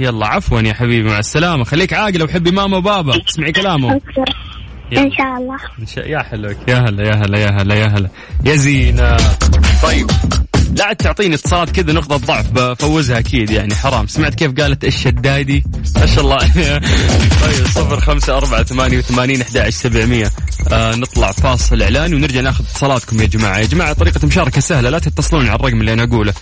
A: يلا عفوا يا حبيبي مع السلامة خليك عاقلة وحبي ماما وبابا اسمعي كلامهم
I: اوكي
A: يلا.
I: ان شاء الله
A: إن شاء- يا حلوك يا هلا يا هلا يا هلا يا هلا يا زينة طيب لا عاد تعطيني اتصالات كذا نقطة ضعف بفوزها أكيد يعني حرام سمعت كيف قالت الشدادي ما شاء الله طيب صفر خمسة أربعة ثمانية وثمانين أحد عشر سبعمية آه نطلع فاصل إعلاني ونرجع ناخذ اتصالاتكم يا جماعة يا جماعة طريقة مشاركة سهلة لا تتصلون على الرقم اللي أنا أقوله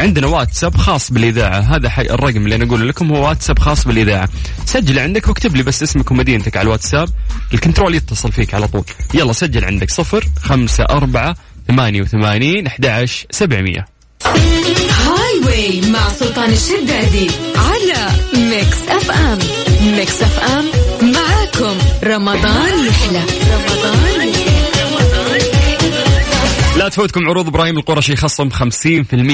A: عندنا واتساب خاص بالإذاعة هذا حي الرقم اللي أنا أقوله لكم هو واتساب خاص بالإذاعة سجل عندك واكتب لي بس اسمك ومدينتك على الواتساب الكنترول يتصل فيك على طول يلا سجل عندك صفر خمسة أربعة ثمانية وثمانين أحد عشر سبعمية
E: هاي واي مع سلطان الشدادي على ميكس اف ام ميكس اف ام معاكم رمضان يحلى رمضان يحلى.
A: لا تفوتكم عروض ابراهيم القرشي خصم 50%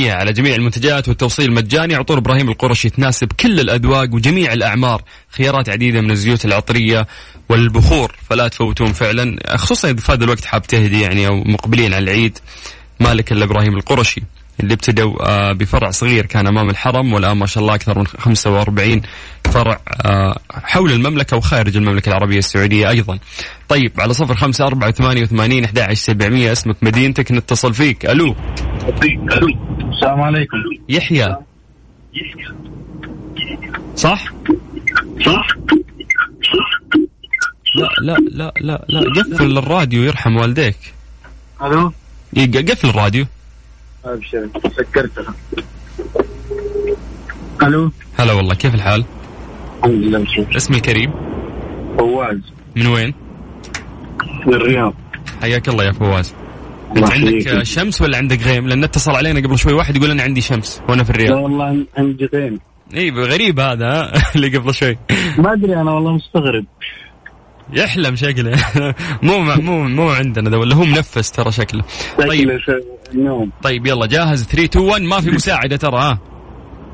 A: على جميع المنتجات والتوصيل مجاني عطور ابراهيم القرشي تناسب كل الاذواق وجميع الاعمار خيارات عديده من الزيوت العطريه والبخور فلا تفوتون فعلا خصوصا اذا فاد الوقت حاب تهدي يعني او مقبلين على العيد مالك الا ابراهيم القرشي اللي ابتدوا آه، بفرع صغير كان امام الحرم والان ما شاء الله اكثر من 45 فرع آه، حول المملكه وخارج المملكه العربيه السعوديه ايضا. طيب على صفر خمسة أربعة ثمانية وثمانين أحد عشر سبعمية اسمك مدينتك نتصل فيك ألو
G: السلام عليكم
A: يحيى صح؟
G: صح
A: لا لا لا لا لا قفل الراديو يرحم والديك
G: الو
A: ي- قفل الراديو
B: طيب،
G: ابشر سكرتها الو
A: هلا والله كيف الحال؟
G: الحمد لله بخير
A: اسمي الكريم
G: فواز
A: من وين؟
G: من الرياض
A: حياك الله يا فواز انت
G: الله
A: عندك
G: يحييك.
A: آه، شمس ولا عندك غيم؟ لان اتصل علينا قبل شوي واحد يقول انا عندي شمس وانا في
G: لا
A: الرياض.
G: والله عندي غيم
A: اي إيه، غريب هذا ها؟ اللي قبل شوي.
G: ما ادري انا والله مستغرب
A: يحلم شكله مو مع- مو مو عندنا ذا ولا هو منفس ترى شكله. طيب
G: شكله ش- نوم
A: طيب يلا جاهز 3 2 1 ما في مساعده ترى ها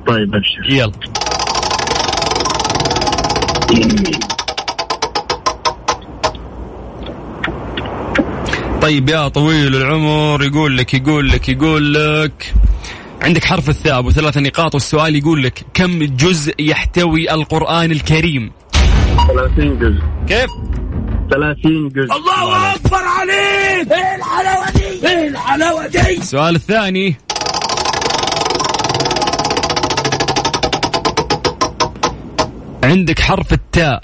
G: طيب ابشر
A: يلا طيب يا طويل العمر يقول لك يقول لك يقول لك عندك حرف الثاء ابو ثلاث نقاط والسؤال يقول لك كم جزء يحتوي القرآن الكريم؟
G: 30 جزء
A: كيف؟
G: 30 جزء
D: الله اكبر عليك ايه الحلاوه دي ايه الحلاوه دي
A: السؤال الثاني عندك حرف التاء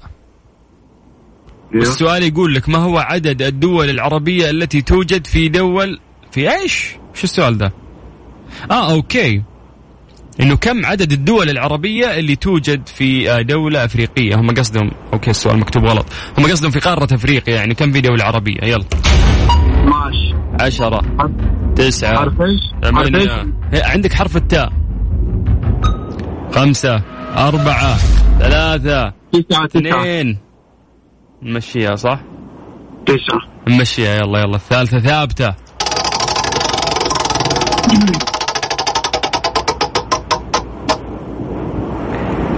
A: والسؤال يقول لك ما هو عدد الدول العربية التي توجد في دول في ايش؟ شو السؤال ده؟ اه اوكي انه كم عدد الدول العربية اللي توجد في آه، دولة افريقية هم قصدهم اوكي السؤال مكتوب غلط هم قصدهم في قارة افريقيا يعني كم في دولة عربية يلا
G: ماشي
A: عشرة تسعة
G: حرف ايش؟ حرف ايش؟
A: ثمانية عندك حرف التاء خمسة أربعة ثلاثة
G: تسعة تسعة
A: اثنين نمشيها صح؟
G: تسعة
A: نمشيها يلا يلا الثالثة ثابتة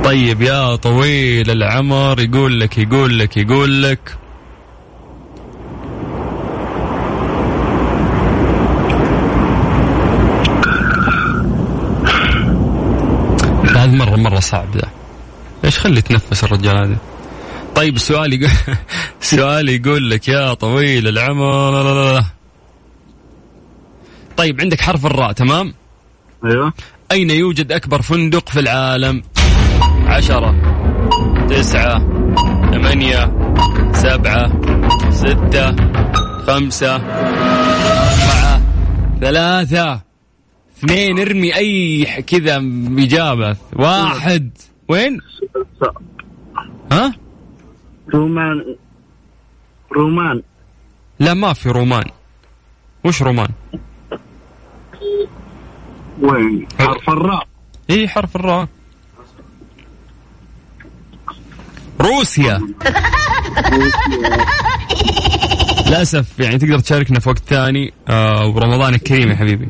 A: طيب يا طويل العمر يقول لك يقول لك يقول لك هذا مرة مرة صعب ذا ايش خلي يتنفس الرجال هذا طيب السؤال يقول السؤال يقول لك يا طويل العمر لا لا لا لا. طيب عندك حرف الراء تمام
G: ايوه
A: أين يوجد أكبر فندق في العالم عشرة تسعة ثمانية سبعة ستة خمسة أربعة ثلاثة اثنين ارمي أي ح- كذا إجابة واحد وين ها
G: رومان رومان
A: لا ما في رومان وش رومان
G: وين؟ حرف الراء
A: اي إيه، حرف الراء روسيا للاسف يعني تقدر تشاركنا في وقت ثاني آه ورمضانك كريم يا حبيبي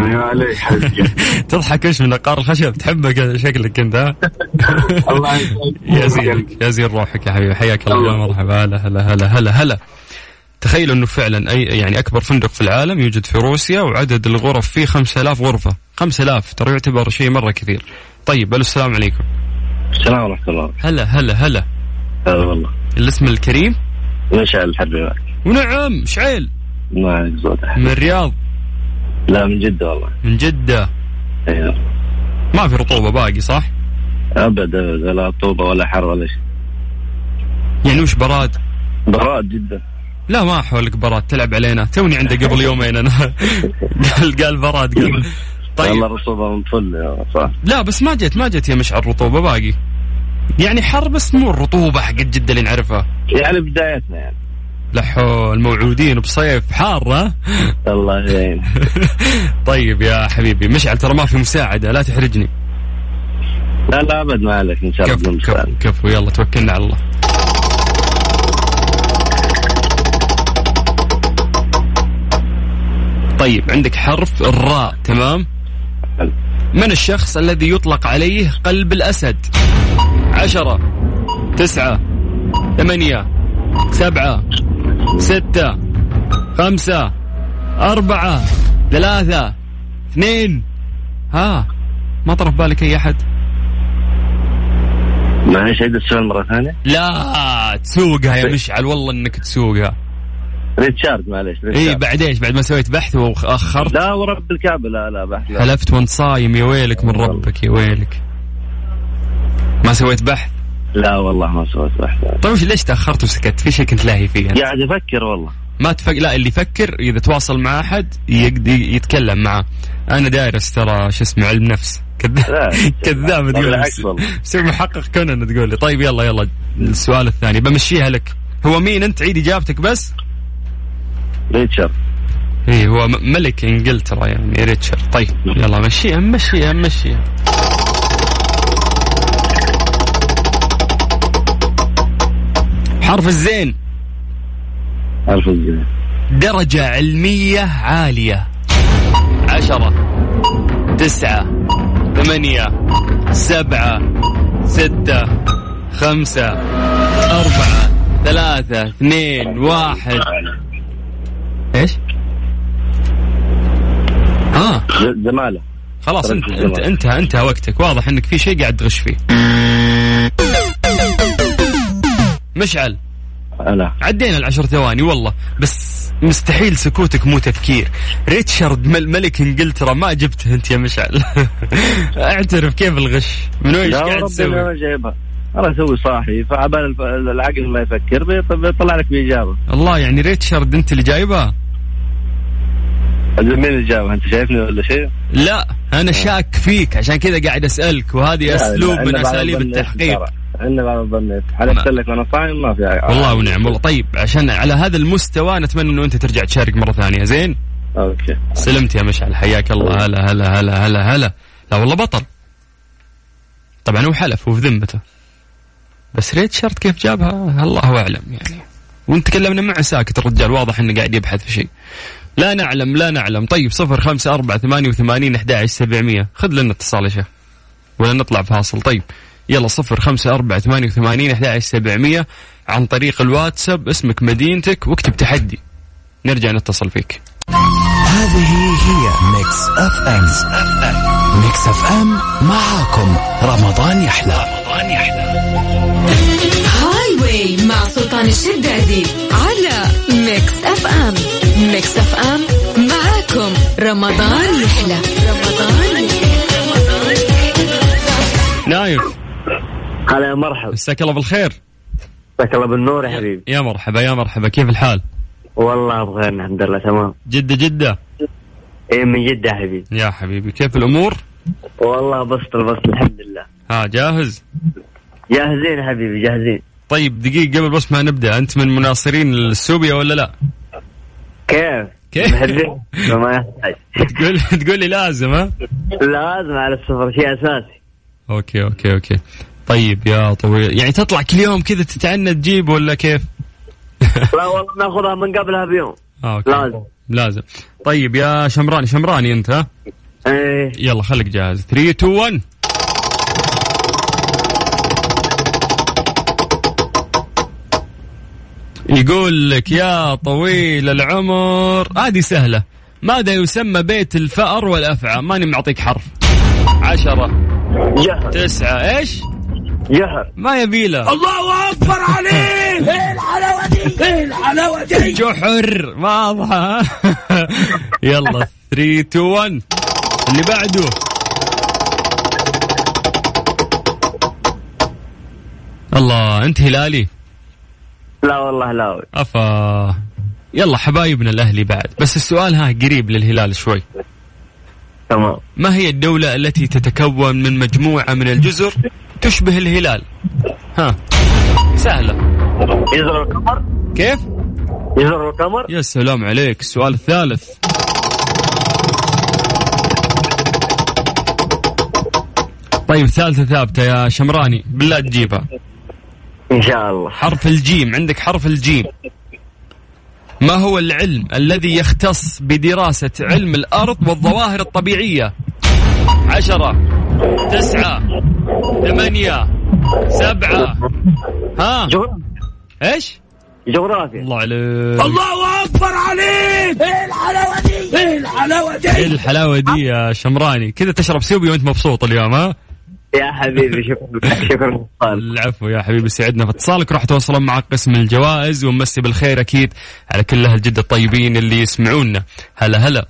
G: ايوه عليك حبيبي
A: تضحك ايش من عقار الخشب تحبك شكلك انت ها
G: الله يسعدك
A: يا زينك يا زين روحك يا حبيبي حياك الله يا مرحبا هلا هلا هلا هلا هلا تخيلوا انه فعلا اي يعني اكبر فندق في العالم يوجد في روسيا وعدد الغرف فيه 5000 غرفه 5000 ترى يعتبر شيء مره كثير طيب الو السلام عليكم
G: السلام ورحمة الله
A: هلا هلا هلا
G: هلا والله
A: الاسم الكريم
G: مشعل الحربي معك
A: ونعم شعيل
G: ما عليك زود
A: من الرياض
G: لا من جدة والله
A: من جدة
G: ايوه
A: ما في رطوبة باقي صح؟
G: ابدا أبدا، لا طوبة ولا حر ولا شيء
A: يعني وش براد؟
G: براء جدا
A: لا ما حولك براد تلعب علينا توني عندك قبل يومين انا قال قال براد قال
G: والله
A: طيب
G: رطوبة من فل يا صح
A: لا بس ما جت ما جت يا مشعل رطوبة باقي يعني حر بس مو الرطوبة حقت جدة اللي نعرفها
G: يعني بدايتنا يعني
A: لا حول موعودين بصيف حار ها؟
G: الله يعين
A: طيب يا حبيبي مشعل ترى ما في مساعدة لا تحرجني
G: لا لا ابد ما عليك ان شاء الله
A: كفو
G: بدون
A: كفو
G: مساعدة.
A: كفو يلا توكلنا على الله طيب عندك حرف الراء تمام
G: حلو.
A: من الشخص الذي يطلق عليه قلب الأسد عشرة تسعة ثمانية سبعة ستة خمسة أربعة ثلاثة اثنين ها ما طرف بالك أي أحد
G: معلش عيد السؤال مره ثانيه
A: لا تسوقها يا مشعل والله انك تسوقها
G: ريتشارد معلش
A: اي
G: ريتشارد
A: بعد ايش بعد ما سويت بحث واخرت
G: لا ورب الكعبه لا لا بحث لا.
A: حلفت وانت صايم يا ويلك من ربك يا ويلك ما سويت بحث
G: لا والله ما سويت بحث
A: طيب وش- ليش تاخرت وسكت في شيء كنت لاهي فيه
G: قاعد افكر والله
A: ما تفك... لا اللي يفكر اذا تواصل مع احد يقد... يتكلم معه انا دارس ترى شو اسمه علم نفس
G: لا.
A: كذاب كذاب
G: لا،
A: تقول
G: بالعكس والله.
A: بصير محقق كونان تقول لي طيب يلا يلا السؤال الثاني بمشيها لك هو مين انت عيد اجابتك بس
G: ريتشارد
A: ايه هو م- ملك انجلترا يعني ريتشارد طيب يلا مشيها مشيها مشيها حرف الزين
G: ألف جنيه
A: درجة علمية عالية عشرة تسعة ثمانية سبعة ستة خمسة أربعة ثلاثة اثنين واحد ايش؟ ها
G: ج- جماله
A: آه. خلاص انت انت انتهى انتهى وقتك واضح انك في شيء قاعد تغش فيه مشعل
G: انا
A: عدينا العشر ثواني والله بس مستحيل سكوتك مو تفكير ريتشارد مل ملك انجلترا ما جبته انت يا مشعل اعترف كيف الغش من وين إيش
G: لا
A: قاعد
G: ورب
A: تسوي
G: انا جايبها انا اسوي صاحي فعبال الف- العقل ما يفكر بيط- بيطلع لك باجابه
A: الله يعني ريتشارد انت اللي جايبها
G: مين اللي جابها انت شايفني ولا شيء؟
A: لا انا شاك فيك عشان كذا قاعد اسالك وهذه اسلوب من اساليب التحقيق
G: عندنا بعض الظن حلفت لك وانا صايم ما في
A: والله ونعم والله طيب عشان على هذا المستوى نتمنى انه انت ترجع تشارك مره ثانيه زين
G: اوكي
A: سلمت يا مشعل حياك الله هلا هلا هلا هلا هلا لا والله بطل طبعا هو حلف هو في ذمته بس ريتشارد كيف جابها الله اعلم يعني وانت تكلمنا معه ساكت الرجال واضح انه قاعد يبحث في شيء لا نعلم لا نعلم طيب صفر خمسة أربعة ثمانية وثمانين أحد عشر سبعمية خذ لنا اتصال يا شيخ ولا نطلع فاصل طيب يلا صفر خمسة أربعة ثمانية وثمانين أحد عشر سبعمية عن طريق الواتساب اسمك مدينتك واكتب تحدي نرجع نتصل فيك
J: هذه هي ميكس اف ام ميكس اف ام معاكم رمضان يحلى رمضان يحلى
E: هاي واي مع سلطان الشدادي على ميكس اف ام ميكس اف ام معاكم رمضان يحلى رمضان
A: نايف
G: هلا يا مرحبا
A: مساك الله بالخير
G: مساك الله بالنور يا حبيبي
A: يا مرحبا يا مرحبا كيف الحال
G: والله بخير الحمد لله تمام
A: جدة جدة
G: ايه من جد يا حبيبي
A: يا حبيبي كيف الأمور
G: والله بسط البسط الحمد لله
A: ها جاهز
G: جاهزين يا حبيبي جاهزين
A: طيب دقيقة قبل بس ما نبدأ أنت من مناصرين السوبيا ولا لا
G: كيف؟
A: كيف؟
G: محبين ما يحتاج
A: تقول تقول لي لازم ها
G: لازم على السفر شيء اساسي
A: أوكي أوكي أوكي طيب يا طويل يعني تطلع كل يوم كذا تتعنى تجيب ولا كيف
G: لا والله ناخذها من قبلها بيوم
A: آه، أوكي.
G: لازم.
A: لازم طيب يا شمراني شمراني أنت ها
G: ايه
A: يلا خليك جاهز 3 2 1 يقول لك يا طويل العمر هذه سهلة ماذا يسمى بيت الفأر والأفعى ماني معطيك حرف عشرة
G: جهر
A: تسعة إيش
G: جهر
A: ما يبيله
D: الله اكبر عليك ايه الحلاوه دي ايه الحلاوه دي
A: جحر واضحة يلا 3 2 1 اللي بعده الله انت هلالي
G: لا والله لا
A: افا يلا حبايبنا الاهلي بعد بس السؤال ها قريب للهلال شوي
G: تمام
A: ما هي الدولة التي تتكون من مجموعة من الجزر تشبه الهلال ها سهلة
G: يزر القمر
A: كيف
G: يزر القمر
A: يا سلام عليك السؤال الثالث طيب ثالثة ثابتة يا شمراني بالله تجيبها
G: ان شاء الله
A: حرف الجيم عندك حرف الجيم ما هو العلم الذي يختص بدراسة علم الأرض والظواهر الطبيعية عشرة تسعة ثمانية سبعة ها ايش
F: جغرافيا
A: الله عليك
D: الله اكبر عليك ايه الحلاوه دي ايه الحلاوه
A: ايه
D: دي
A: الحلاوه دي يا شمراني كذا تشرب سيوبي وانت مبسوط اليوم ها
G: يا حبيبي شكرا شكرا
H: طيب.
A: العفو يا حبيبي سعدنا في اتصالك راح توصلون معك قسم الجوائز ونمسي بالخير اكيد على كل اهل جده الطيبين اللي يسمعونا هلا هلا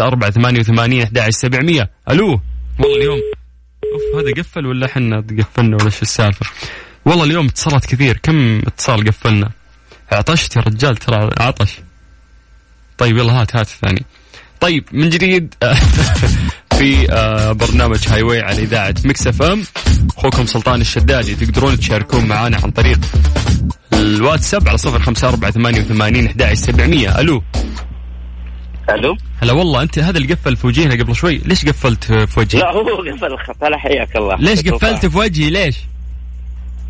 A: 054 سبعمية الو والله اليوم اوف هذا قفل ولا احنا قفلنا ولا شو السالفه والله اليوم اتصالات كثير كم اتصال قفلنا عطشت يا رجال ترى عطش طيب يلا هات هات الثاني طيب من جديد في آه، برنامج هاي واي على اذاعه مكس اف ام اخوكم سلطان الشدادي تقدرون تشاركون معنا عن طريق الواتساب على صفر خمسة أربعة ثمانية وثمانين أحداعش سبعمية ألو
G: الو
A: هلا والله أنت هذا اللي قفل في وجهنا قبل شوي ليش قفلت في وجهي
G: لا هو قفل الخط هلا حياك الله
A: ليش
G: شكراً.
A: قفلت في وجهي ليش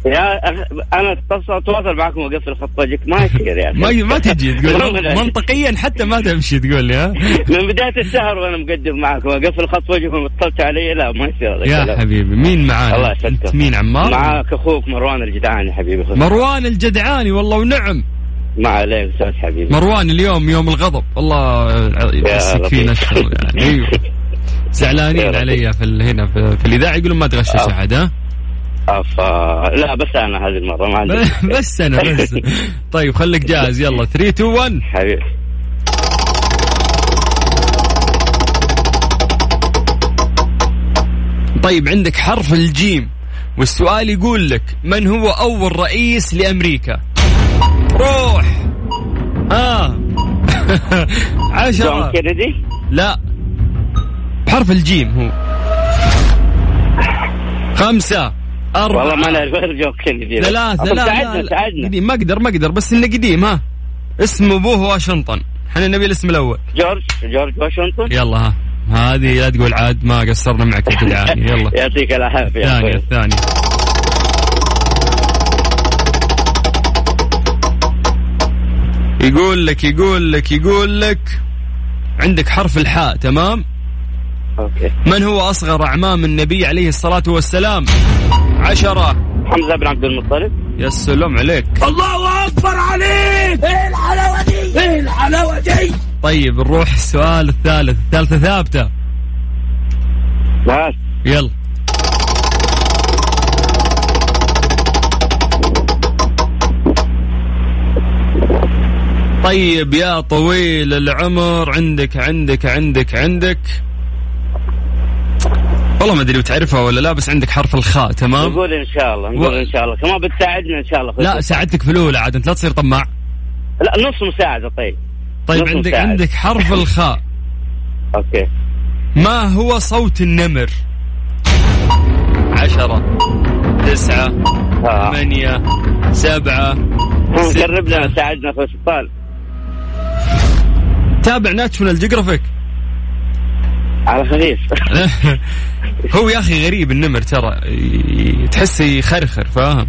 G: يا أخ... انا أتصل- اتواصل معكم واقفل خط وجهك ما يصير يعني. يا اخي
A: ما ما تجي تقول
G: والله.
A: منطقيا حتى ما تمشي تقول لي ها
G: من بدايه الشهر وانا مقدم معكم اقفل خط وجهكم اتصلت علي لا ما يصير هذا
A: يا
G: الكلام.
A: حبيبي مين معانا
G: الله يسلمك.
A: أنت مين عمار
G: معك اخوك مروان الجدعان يا حبيبي خذ.
A: مروان الجدعاني والله ونعم
G: ما عليك استاذ حبيبي
A: مروان اليوم يوم الغضب الله يمسك
G: لطيف.
A: فينا الشر يعني أيوه.
G: يا
A: زعلانين
G: لطيف.
A: علي في ال- هنا في, في الاذاعه يقولون ما تغشش
G: آه.
A: احد ها
G: أفا... آه، لا بس انا هذه المره ما عندي
A: بس انا بس طيب خليك جاهز يلا 3 2 1
G: حبيبي
A: طيب عندك حرف الجيم والسؤال يقول لك من هو اول رئيس لامريكا روح اه
G: جون
A: عشرة
G: كينيدي
A: لا بحرف الجيم هو خمسة أربعة
G: والله ما نعرف غير جون كينيدي
A: لا لا لا
G: طب
A: لا
G: ساعدنا
A: لا.
G: ساعدنا
A: قديم ما اقدر ما اقدر بس انه قديم ها اسمه ابوه واشنطن احنا نبي الاسم الاول
G: جورج جورج واشنطن
A: يلا ها هذه لا تقول عاد ما قصرنا معك في العاني يلا
G: يعطيك طيب، العافيه يا
A: الثانية
G: أخوي.
A: الثانية يقول لك يقول لك يقول لك عندك حرف الحاء تمام
G: اوكي
A: من هو أصغر أعمام النبي عليه الصلاة والسلام عشرة
G: حمزه بن عبد المطلب
A: يا سلام عليك
D: الله اكبر عليك ايه الحلاوه دي ايه الحلاوه دي
A: طيب نروح السؤال الثالث الثالثة ثابتة
G: ناس
A: يلا طيب يا طويل العمر عندك عندك عندك عندك والله ما ادري بتعرفها ولا لا بس عندك حرف الخاء تمام
G: نقول ان شاء الله نقول ان شاء الله كمان بتساعدنا ان شاء الله
A: لا
G: أخوي.
A: ساعدتك في الاولى عاد انت لا تصير طماع
G: لا نص مساعده طيب
A: طيب
G: نص
A: عندك
G: مساعد.
A: عندك حرف الخاء
G: اوكي
A: ما هو صوت النمر عشرة تسعة
G: آه.
A: ثمانية سبعة ستة.
G: قربنا ساعدنا اخوي سلطان
A: تابع ناشونال جيوغرافيك
G: على خفيف
A: هو يا اخي غريب النمر ترى ي- تحسه يخرخر فاهم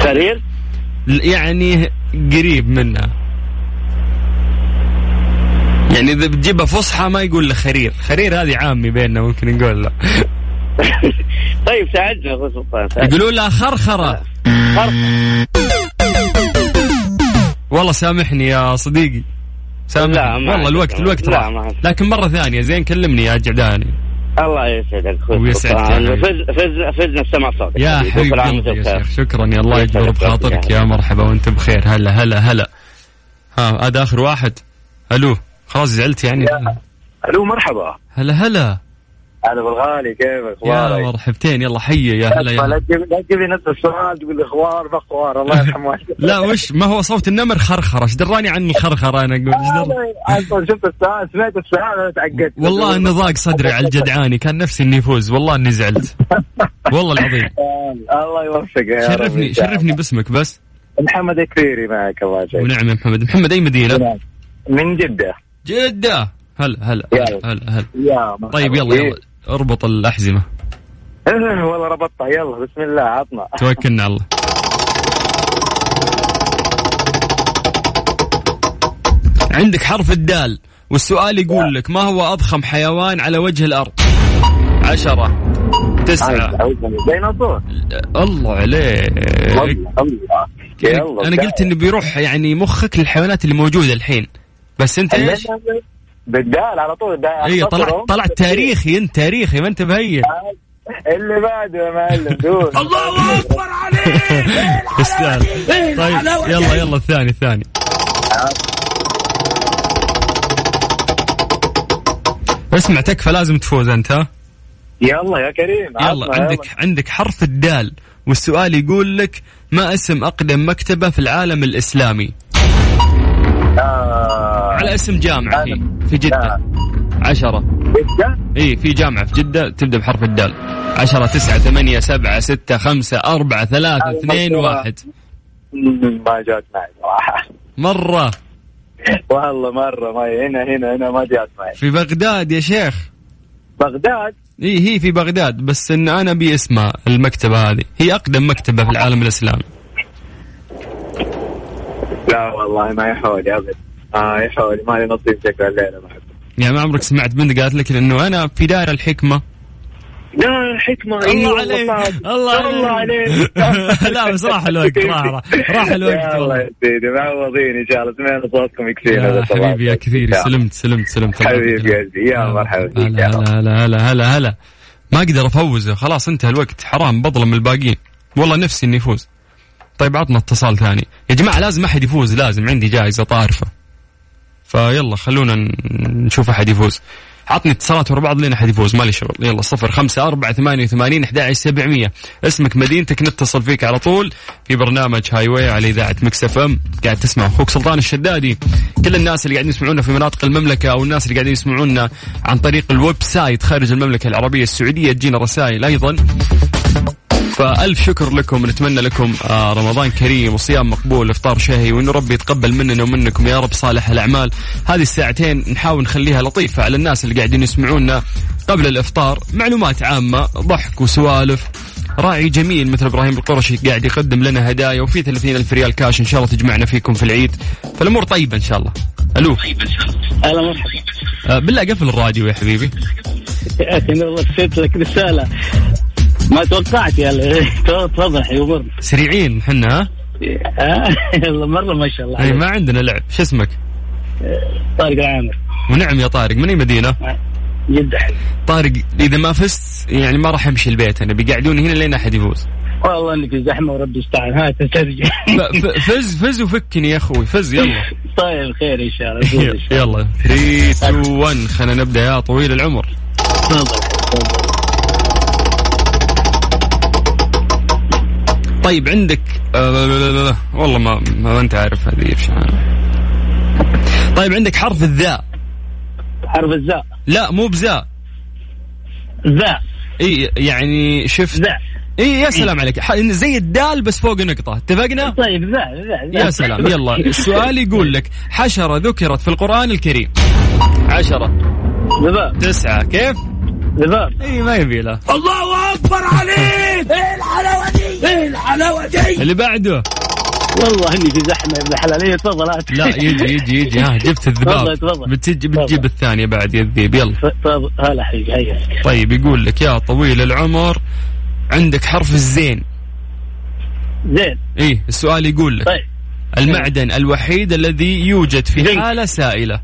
G: سرير
A: يعني قريب منها يعني اذا بتجيبها فصحى ما يقول له خرير خرير هذه عامي بيننا ممكن نقول له
G: طيب ساعدنا اخوي سلطان ساعدنا.
A: يقولوا لها خرخره والله سامحني يا صديقي
G: لا،
A: سامحني والله
G: ما عندك
A: الوقت
G: ما-
A: الوقت
G: لا،
A: راح
G: ما عندك.
A: لكن مره ثانيه زين كلمني يا جعداني
G: الله يسعدك اخوي
A: ويسعدك يا
G: سلطان
A: حبيبي.
G: فزنا فزنا فزنا بسمع صوتك
A: يا
G: حبيبي.
A: حبيب
G: كل عام وانت
A: قلبي يا
G: بخير.
A: شيخ شكرا يا الله يجبر
G: يسعدك
A: بخاطرك
G: يا
A: يا مرحبا وانت بخير هلا هلا هلا ها هذا اخر واحد الو خلاص زعلت يعني
B: الو مرحبا
A: هلا هلا
B: هلا بالغالي كيفك
A: يا
B: اخبارك؟
A: مرحبتين يلا حيه يا هلا يا
B: لا
A: هلا.
B: تجيب- لا تجيب لي نفس السؤال تقول لي خوار ما خوار الله يرحم والديك
A: لا وش ما هو صوت النمر خرخره ايش دراني عن الخرخره انا اقول ايش دراني
B: اصلا شفت السؤال سمعت السؤال انا تعقدت
A: والله اني ضاق صدري على الجدعاني كان نفسي اني يفوز والله اني زعلت والله العظيم
B: الله يوفقك يا رب
A: شرفني
B: إن شاء الله.
A: شرفني باسمك بس
B: محمد كثيري معك الله يسعدك
A: ونعم يا محمد محمد اي
B: نعم.
A: مدينه
B: من جدة
A: جده هلا هلا
B: يلا.
A: هلا هلا
B: يا مرحبا.
A: طيب يلا يلا اربط الاحزمه
B: إيه، والله ربطتها يلا بسم الله عطنا
A: توكلنا على الله عندك حرف الدال والسؤال يقول لك ما هو أضخم حيوان على وجه الأرض عشرة تسعة
G: ديناصور
A: الله عليك
G: الله الله
A: إيه. يعني أنا, أنا قلت إنه بيروح يعني مخك للحيوانات اللي موجودة الحين بس أنت إيش؟ إيه،
G: بالدال على طول الدال
A: اي طلعت طلعت تاريخي انت تاريخي ما انت مهين
G: اللي بعده يا معلم دول
D: الله اكبر عليك
A: يستاهل
D: إيه
A: طيب
D: الحلاوة دي؟
A: يلا يلا الثاني الثاني اسمع تكفى لازم تفوز انت ها
G: يلا يا كريم
A: يلا عندك عندك حرف الدال والسؤال يقول لك ما اسم اقدم مكتبه في العالم الاسلامي على اسم جامعه في, في جده عشرة اي في جامعة في جدة تبدأ بحرف الدال عشرة تسعة ثمانية سبعة ستة خمسة أربعة ثلاثة اثنين واحد
G: ما جات معي صراحه
A: مرة
G: والله مره ما هنا هنا هنا ما جات معي
A: في بغداد يا شيخ
G: بغداد
A: اي هي في بغداد بس ان انا ابي اسمها المكتبة هذه هي اقدم مكتبة في العالم الاسلامي
G: لا والله ما يحولي ابد ما يحولي آه، ما لي نصيب شكل الليله ما أحب.
A: يعني ما عمرك سمعت بنت قالت لك لانه انا في دار الحكمة
G: لا الحكمه
A: الله عليك الله
G: الله
A: عليك
G: عليك
A: لا بس راح الوقت راح راح, راح الوقت
G: يا الله
A: والله
G: يا سيدي معوضين ان شاء الله سمعنا صوتكم يكفينا
A: يا
G: بس الله
A: حبيبي يا
G: يعطيك.
A: كثير
G: يا
A: سلمت سلمت سلمت
G: حبيبي يا زي. يا مرحبا فيك،
A: هلا
G: يا
A: هلا هلا هلا هلا هلا ما اقدر افوزه خلاص انتهى الوقت حرام بظلم الباقيين والله نفسي اني يفوز طيب عطنا اتصال ثاني يا جماعه لازم احد يفوز لازم عندي جائزه طارفه فيلا خلونا ن- نشوف احد يفوز عطني اتصالات ورا بعض لين احد يفوز مالي شغل يلا صفر خمسة أربعة ثمانية وثمانين أحد عشر سبعمية اسمك مدينتك نتصل فيك على طول في برنامج هاي واي على إذاعة مكس اف ام قاعد تسمع أخوك سلطان الشدادي كل الناس اللي قاعدين يسمعونا في مناطق المملكة أو الناس اللي قاعدين يسمعونا عن طريق الويب سايت خارج المملكة العربية السعودية تجينا رسائل أيضا فألف شكر لكم نتمنى لكم آه، رمضان كريم وصيام مقبول افطار شهي وان ربي يتقبل مننا ومنكم يا رب صالح الاعمال هذه الساعتين نحاول نخليها لطيفه على الناس اللي قاعدين يسمعونا قبل الافطار معلومات عامه ضحك وسوالف راعي جميل مثل ابراهيم القرشي قاعد يقدم لنا هدايا وفي 30 الف ريال كاش ان شاء الله تجمعنا فيكم في العيد فالامور طيبه ان شاء الله الو
G: هلا مرحبا
A: آه، بالله قفل الراديو يا حبيبي
G: يا اخي انا والله كتبت لك رساله ما توقعت يا ال- توضح يمر
A: سريعين احنا ها
G: يلا مره ما شاء الله
A: أي،
G: عليك.
A: ما عندنا لعب شو اسمك
G: طارق العامر
A: ونعم يا طارق من اي مدينه
G: جدا حلو.
A: طارق اذا ما فزت يعني ما راح امشي البيت انا بيقعدوني هنا لين احد يفوز
G: والله انك زحمه وربي يستعان هات ترجع
A: ف- ف- فز فز وفكني يا اخوي فز يلا
G: طيب خير ان شاء الله يفوز
A: أيوه.
G: إن شاء الله.
A: يلا 3 2 1 خلينا نبدا يا طويل العمر
G: تفضل تفضل.
A: طيب عندك آه، لا- لا- لا- لا. والله ما ما انت عارف هذه إيش أنا. طيب عندك حرف الذاء
G: حرف الزاء
A: لا مو بذاء
G: زاء
A: اي يعني شفت
G: زاء
A: اي يا سلام عليك ح- زي الدال بس فوق نقطه اتفقنا
G: طيب زاء زاء
A: يا سلام يلا السؤال يقول لك حشره ذكرت في القران الكريم عشرة
G: ذباب
A: تسعة كيف؟
G: ذباب
A: اي ما يبي له
D: الله اكبر عليك
G: إيه
D: ايه الحلاوه دي ايه الحلاوه دي
A: اللي بعده
G: والله اني في زحمه يا ابن الحلال إيه، تفضل هات
A: لا يجي يجي يجي ها جبت الذباب
G: تفضل، تفضل.
A: بتجي بتجيب
G: تفضل.
A: الثانية بعد يا الذيب يلا
G: تفضل هلا حبيبي هيا
A: طيب يقول لك يا طويل العمر عندك حرف الزين
G: زين
A: ايه السؤال يقول لك
G: طيب
A: المعدن الوحيد الذي يوجد في
G: زنك.
A: حالة سائلة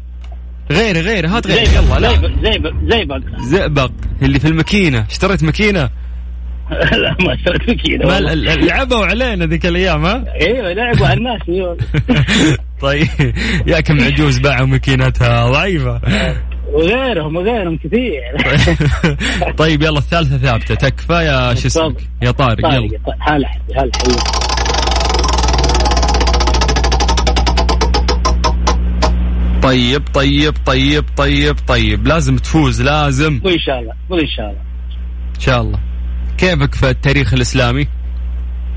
A: غير غير هات غير
G: زيبق
A: طيب، يلا لا
G: زيبق- زيبق زيبق
A: زئبق اللي في الماكينة اشتريت ماكينة
G: لا ما اشتريت ماكينة
A: ما ال-
G: والله.
A: ال- لعبوا علينا ذيك الايام ها
G: ايوه لعبوا على الناس ايوه
A: طيب يا كم عجوز باعوا ماكينتها ضعيفة
G: وغيرهم وغيرهم كثير
A: طيب يلا الثالثة ثابتة تكفى يا شو
G: طيب.
A: اسمك يا طارق طيب، يلا
G: طارق طيب، هلا حبيبي، هلا حبيبي.
A: طيب طيب طيب طيب طيب لازم تفوز لازم
G: وان شاء الله وان شاء الله
A: ان شاء الله كيفك في التاريخ الاسلامي؟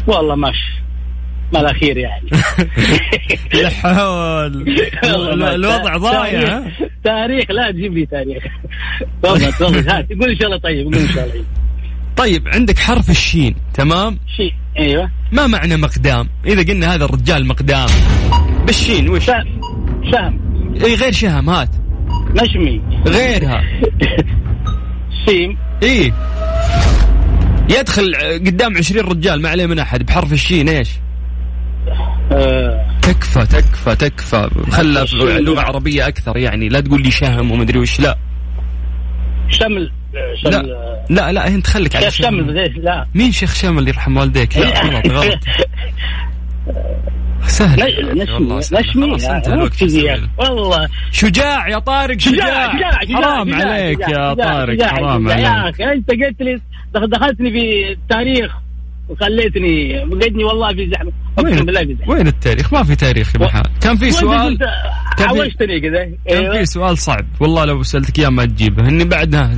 G: والله ماشي ما الاخير يعني
A: يا حول
G: والله
A: ال-
G: ما-
A: الوضع ضايع ها؟
G: تاريخ- تاريخ لا تجيب لي تاريخ تفضل تفضل هات قول ان شاء الله طيب قول ان شاء الله
A: طيب عندك حرف الشين تمام؟
G: شيء ايوه
A: ما معنى مقدام؟ اذا قلنا هذا الرجال مقدام بالشين وش؟
G: سهم سهم
A: اي غير شهم هات
G: نشمي
A: غيرها
G: سيم
A: اي يدخل قدام عشرين رجال ما عليه من احد بحرف الشين ايش؟
G: آه،
A: تكفى تكفى تكفى خلى في لغه عربيه اكثر يعني لا تقول لي شهم ومدري وش لا
G: شمل آه،
A: لا
G: شمل آه،
A: لا لا انت خليك على
G: شيخ
A: شهم.
G: شمل زي- لا
A: مين شيخ شمل يرحم والديك؟ لا غلط غلط سهل
G: نش-
A: والله
G: نشمي
A: سهل.
G: نشمي
A: خلاص
G: آه،
A: انت الوقت
G: ركز
A: تسوي
G: يا
A: له.
G: أخي. والله
A: شجاع يا طارق شجاع
G: شجاع شجاع شجاع
A: حرام
G: شجاع،
A: عليك
G: شجاع،
A: يا
G: شجاع،
A: طارق
G: شجاع،
A: حرام
G: شجاع. يا
A: عليك
G: اخي انت قلت لي دخ- دخلتني في التاريخ وخليتني بقيتني والله في زحمه اقسم بالله في
A: وين
G: زحمه
A: وين التاريخ؟ ما في تاريخ يا محمد كان في سؤال
G: وأنت كنت
A: كان في-
G: عوجتني كذا
A: كان في
G: أيوة.
A: سؤال صعب والله لو سالتك اياه ما تجيبه اني بعدها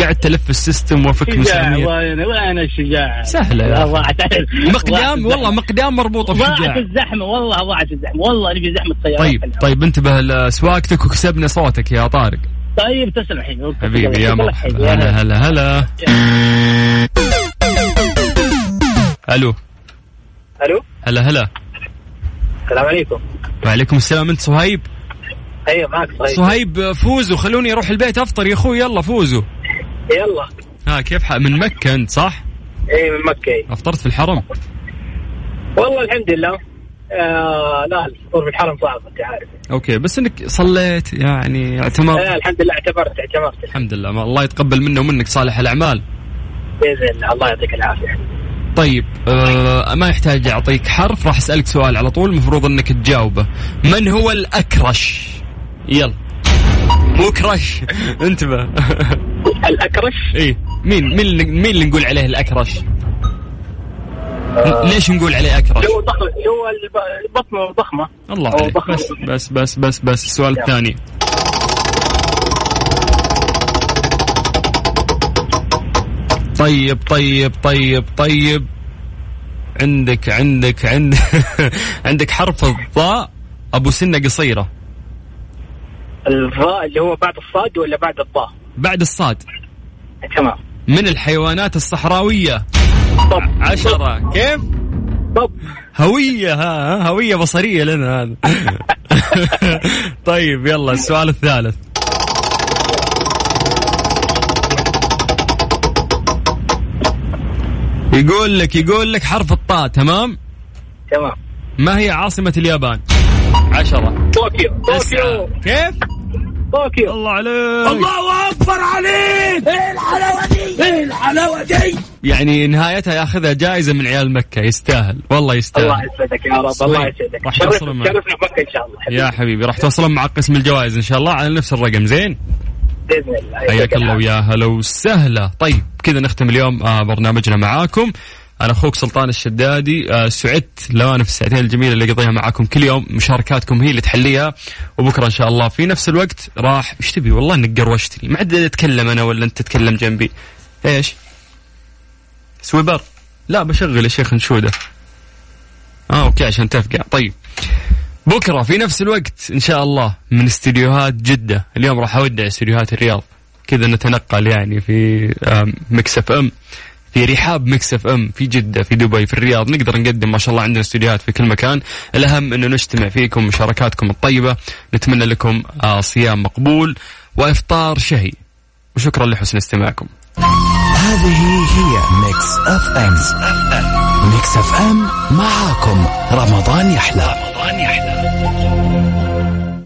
A: قاعد تلف السيستم وافك
G: شجاع
A: مسامير
G: وين وين الشجاع
A: سهلة يا أخي.
G: ضاعت
A: مقدام والله مقدام مربوطه
G: ضاعت
A: بشجاع
G: الزحمه والله ضاعت الزحمه والله نبي زحمه سيارات
A: طيب طيب انتبه لسواقتك وكسبنا صوتك يا طارق
G: طيب تسلم حبيبي
A: حبيبي يا
G: تسلم
A: مرحبا هلا
G: حبيبي.
A: هلا هلا الو
G: الو
A: هلا هلا
G: السلام عليكم
A: وعليكم السلام انت صهيب
G: ايوه معك صحيح
A: صهيب فوزوا خلوني اروح البيت افطر يا اخوي يلا فوزوا
G: يلا
A: ها كيف حق من مكة انت صح؟
G: اي من مكه
A: افطرت في الحرم
G: والله الحمد لله آه لا الفطور في الحرم صعب انت عارف
A: اوكي بس انك صليت يعني
G: آه
A: اعتمر
G: الحمد لله اعتبرت اعتبرت
A: الحمد لله ما الله يتقبل منا ومنك صالح الاعمال
G: باذن الله الله يعطيك العافيه
A: طيب آه ما يحتاج اعطيك حرف راح اسالك سؤال على طول المفروض انك تجاوبه من هو الاكرش يلا مو كرش انتبه
G: الاكرش
A: ايه مين مين اللي- مين اللي نقول عليه الاكرش ليش نقول عليه اكرش
G: هو ضخم هو الب- بطنه ضخمه
A: الله
G: أو
A: عليك
G: ضخم.
A: بس بس بس بس بس السؤال الثاني طيب طيب طيب طيب عندك عندك عندك عندك حرف الضاء ابو سنه قصيره
G: الراء اللي هو بعد الصاد ولا بعد الضاء
A: بعد الصاد
G: تمام
A: من الحيوانات الصحراويه
G: طب
A: عشرة كيف
G: طب
A: هويه ها ها، هويه بصريه لنا هذا طيب يلا السؤال الثالث يقول لك يقول لك حرف الطاء تمام
G: تمام
A: ما هي عاصمة اليابان عشرة
G: طوكيو
A: تسعة
G: طوكيو
A: كيف
G: طوكيو
A: الله عليك إيه
D: الله اكبر عليك ايه الحلاوه دي ايه الحلاوه دي
A: يعني نهايتها ياخذها جائزة من عيال مكة يستاهل والله
G: الله
A: يستاهل
G: يسعدك يا رب الله
A: صحيح.
G: يسعدك
A: راح
G: شرفنا
A: يوصلوا معك.
G: شرفنا بك ان شاء الله
A: يا حبيبي راح توصلون مع قسم الجوائز ان شاء الله على نفس الرقم زين
G: باذن الله
A: حياك الله ويا هلا وسهلا طيب كذا نختم اليوم آه، برنامجنا معاكم انا اخوك سلطان الشدادي آه، سعدت لو انا في الساعتين الجميله اللي اقضيها معاكم كل يوم مشاركاتكم هي اللي تحليها وبكره ان شاء الله في نفس الوقت راح ايش تبي والله انك قروشتني ما عاد اتكلم انا ولا انت تتكلم جنبي ايش سويبر لا بشغل يا شيخ نشوده اه اوكي عشان تفقع طيب بكره في نفس الوقت ان شاء الله من استديوهات جده اليوم راح اودع استديوهات الرياض كذا نتنقل يعني في مكس اف ام في رحاب مكس اف ام في جده في دبي في الرياض نقدر نقدم ما شاء الله عندنا استديوهات في كل مكان الاهم انه نجتمع فيكم مشاركاتكم الطيبه نتمنى لكم آه، صيام مقبول وافطار شهي وشكرا لحسن استماعكم
J: هذه هي ميكس اف ام ميكس اف ام معاكم رمضان يحلى رمضان يحلى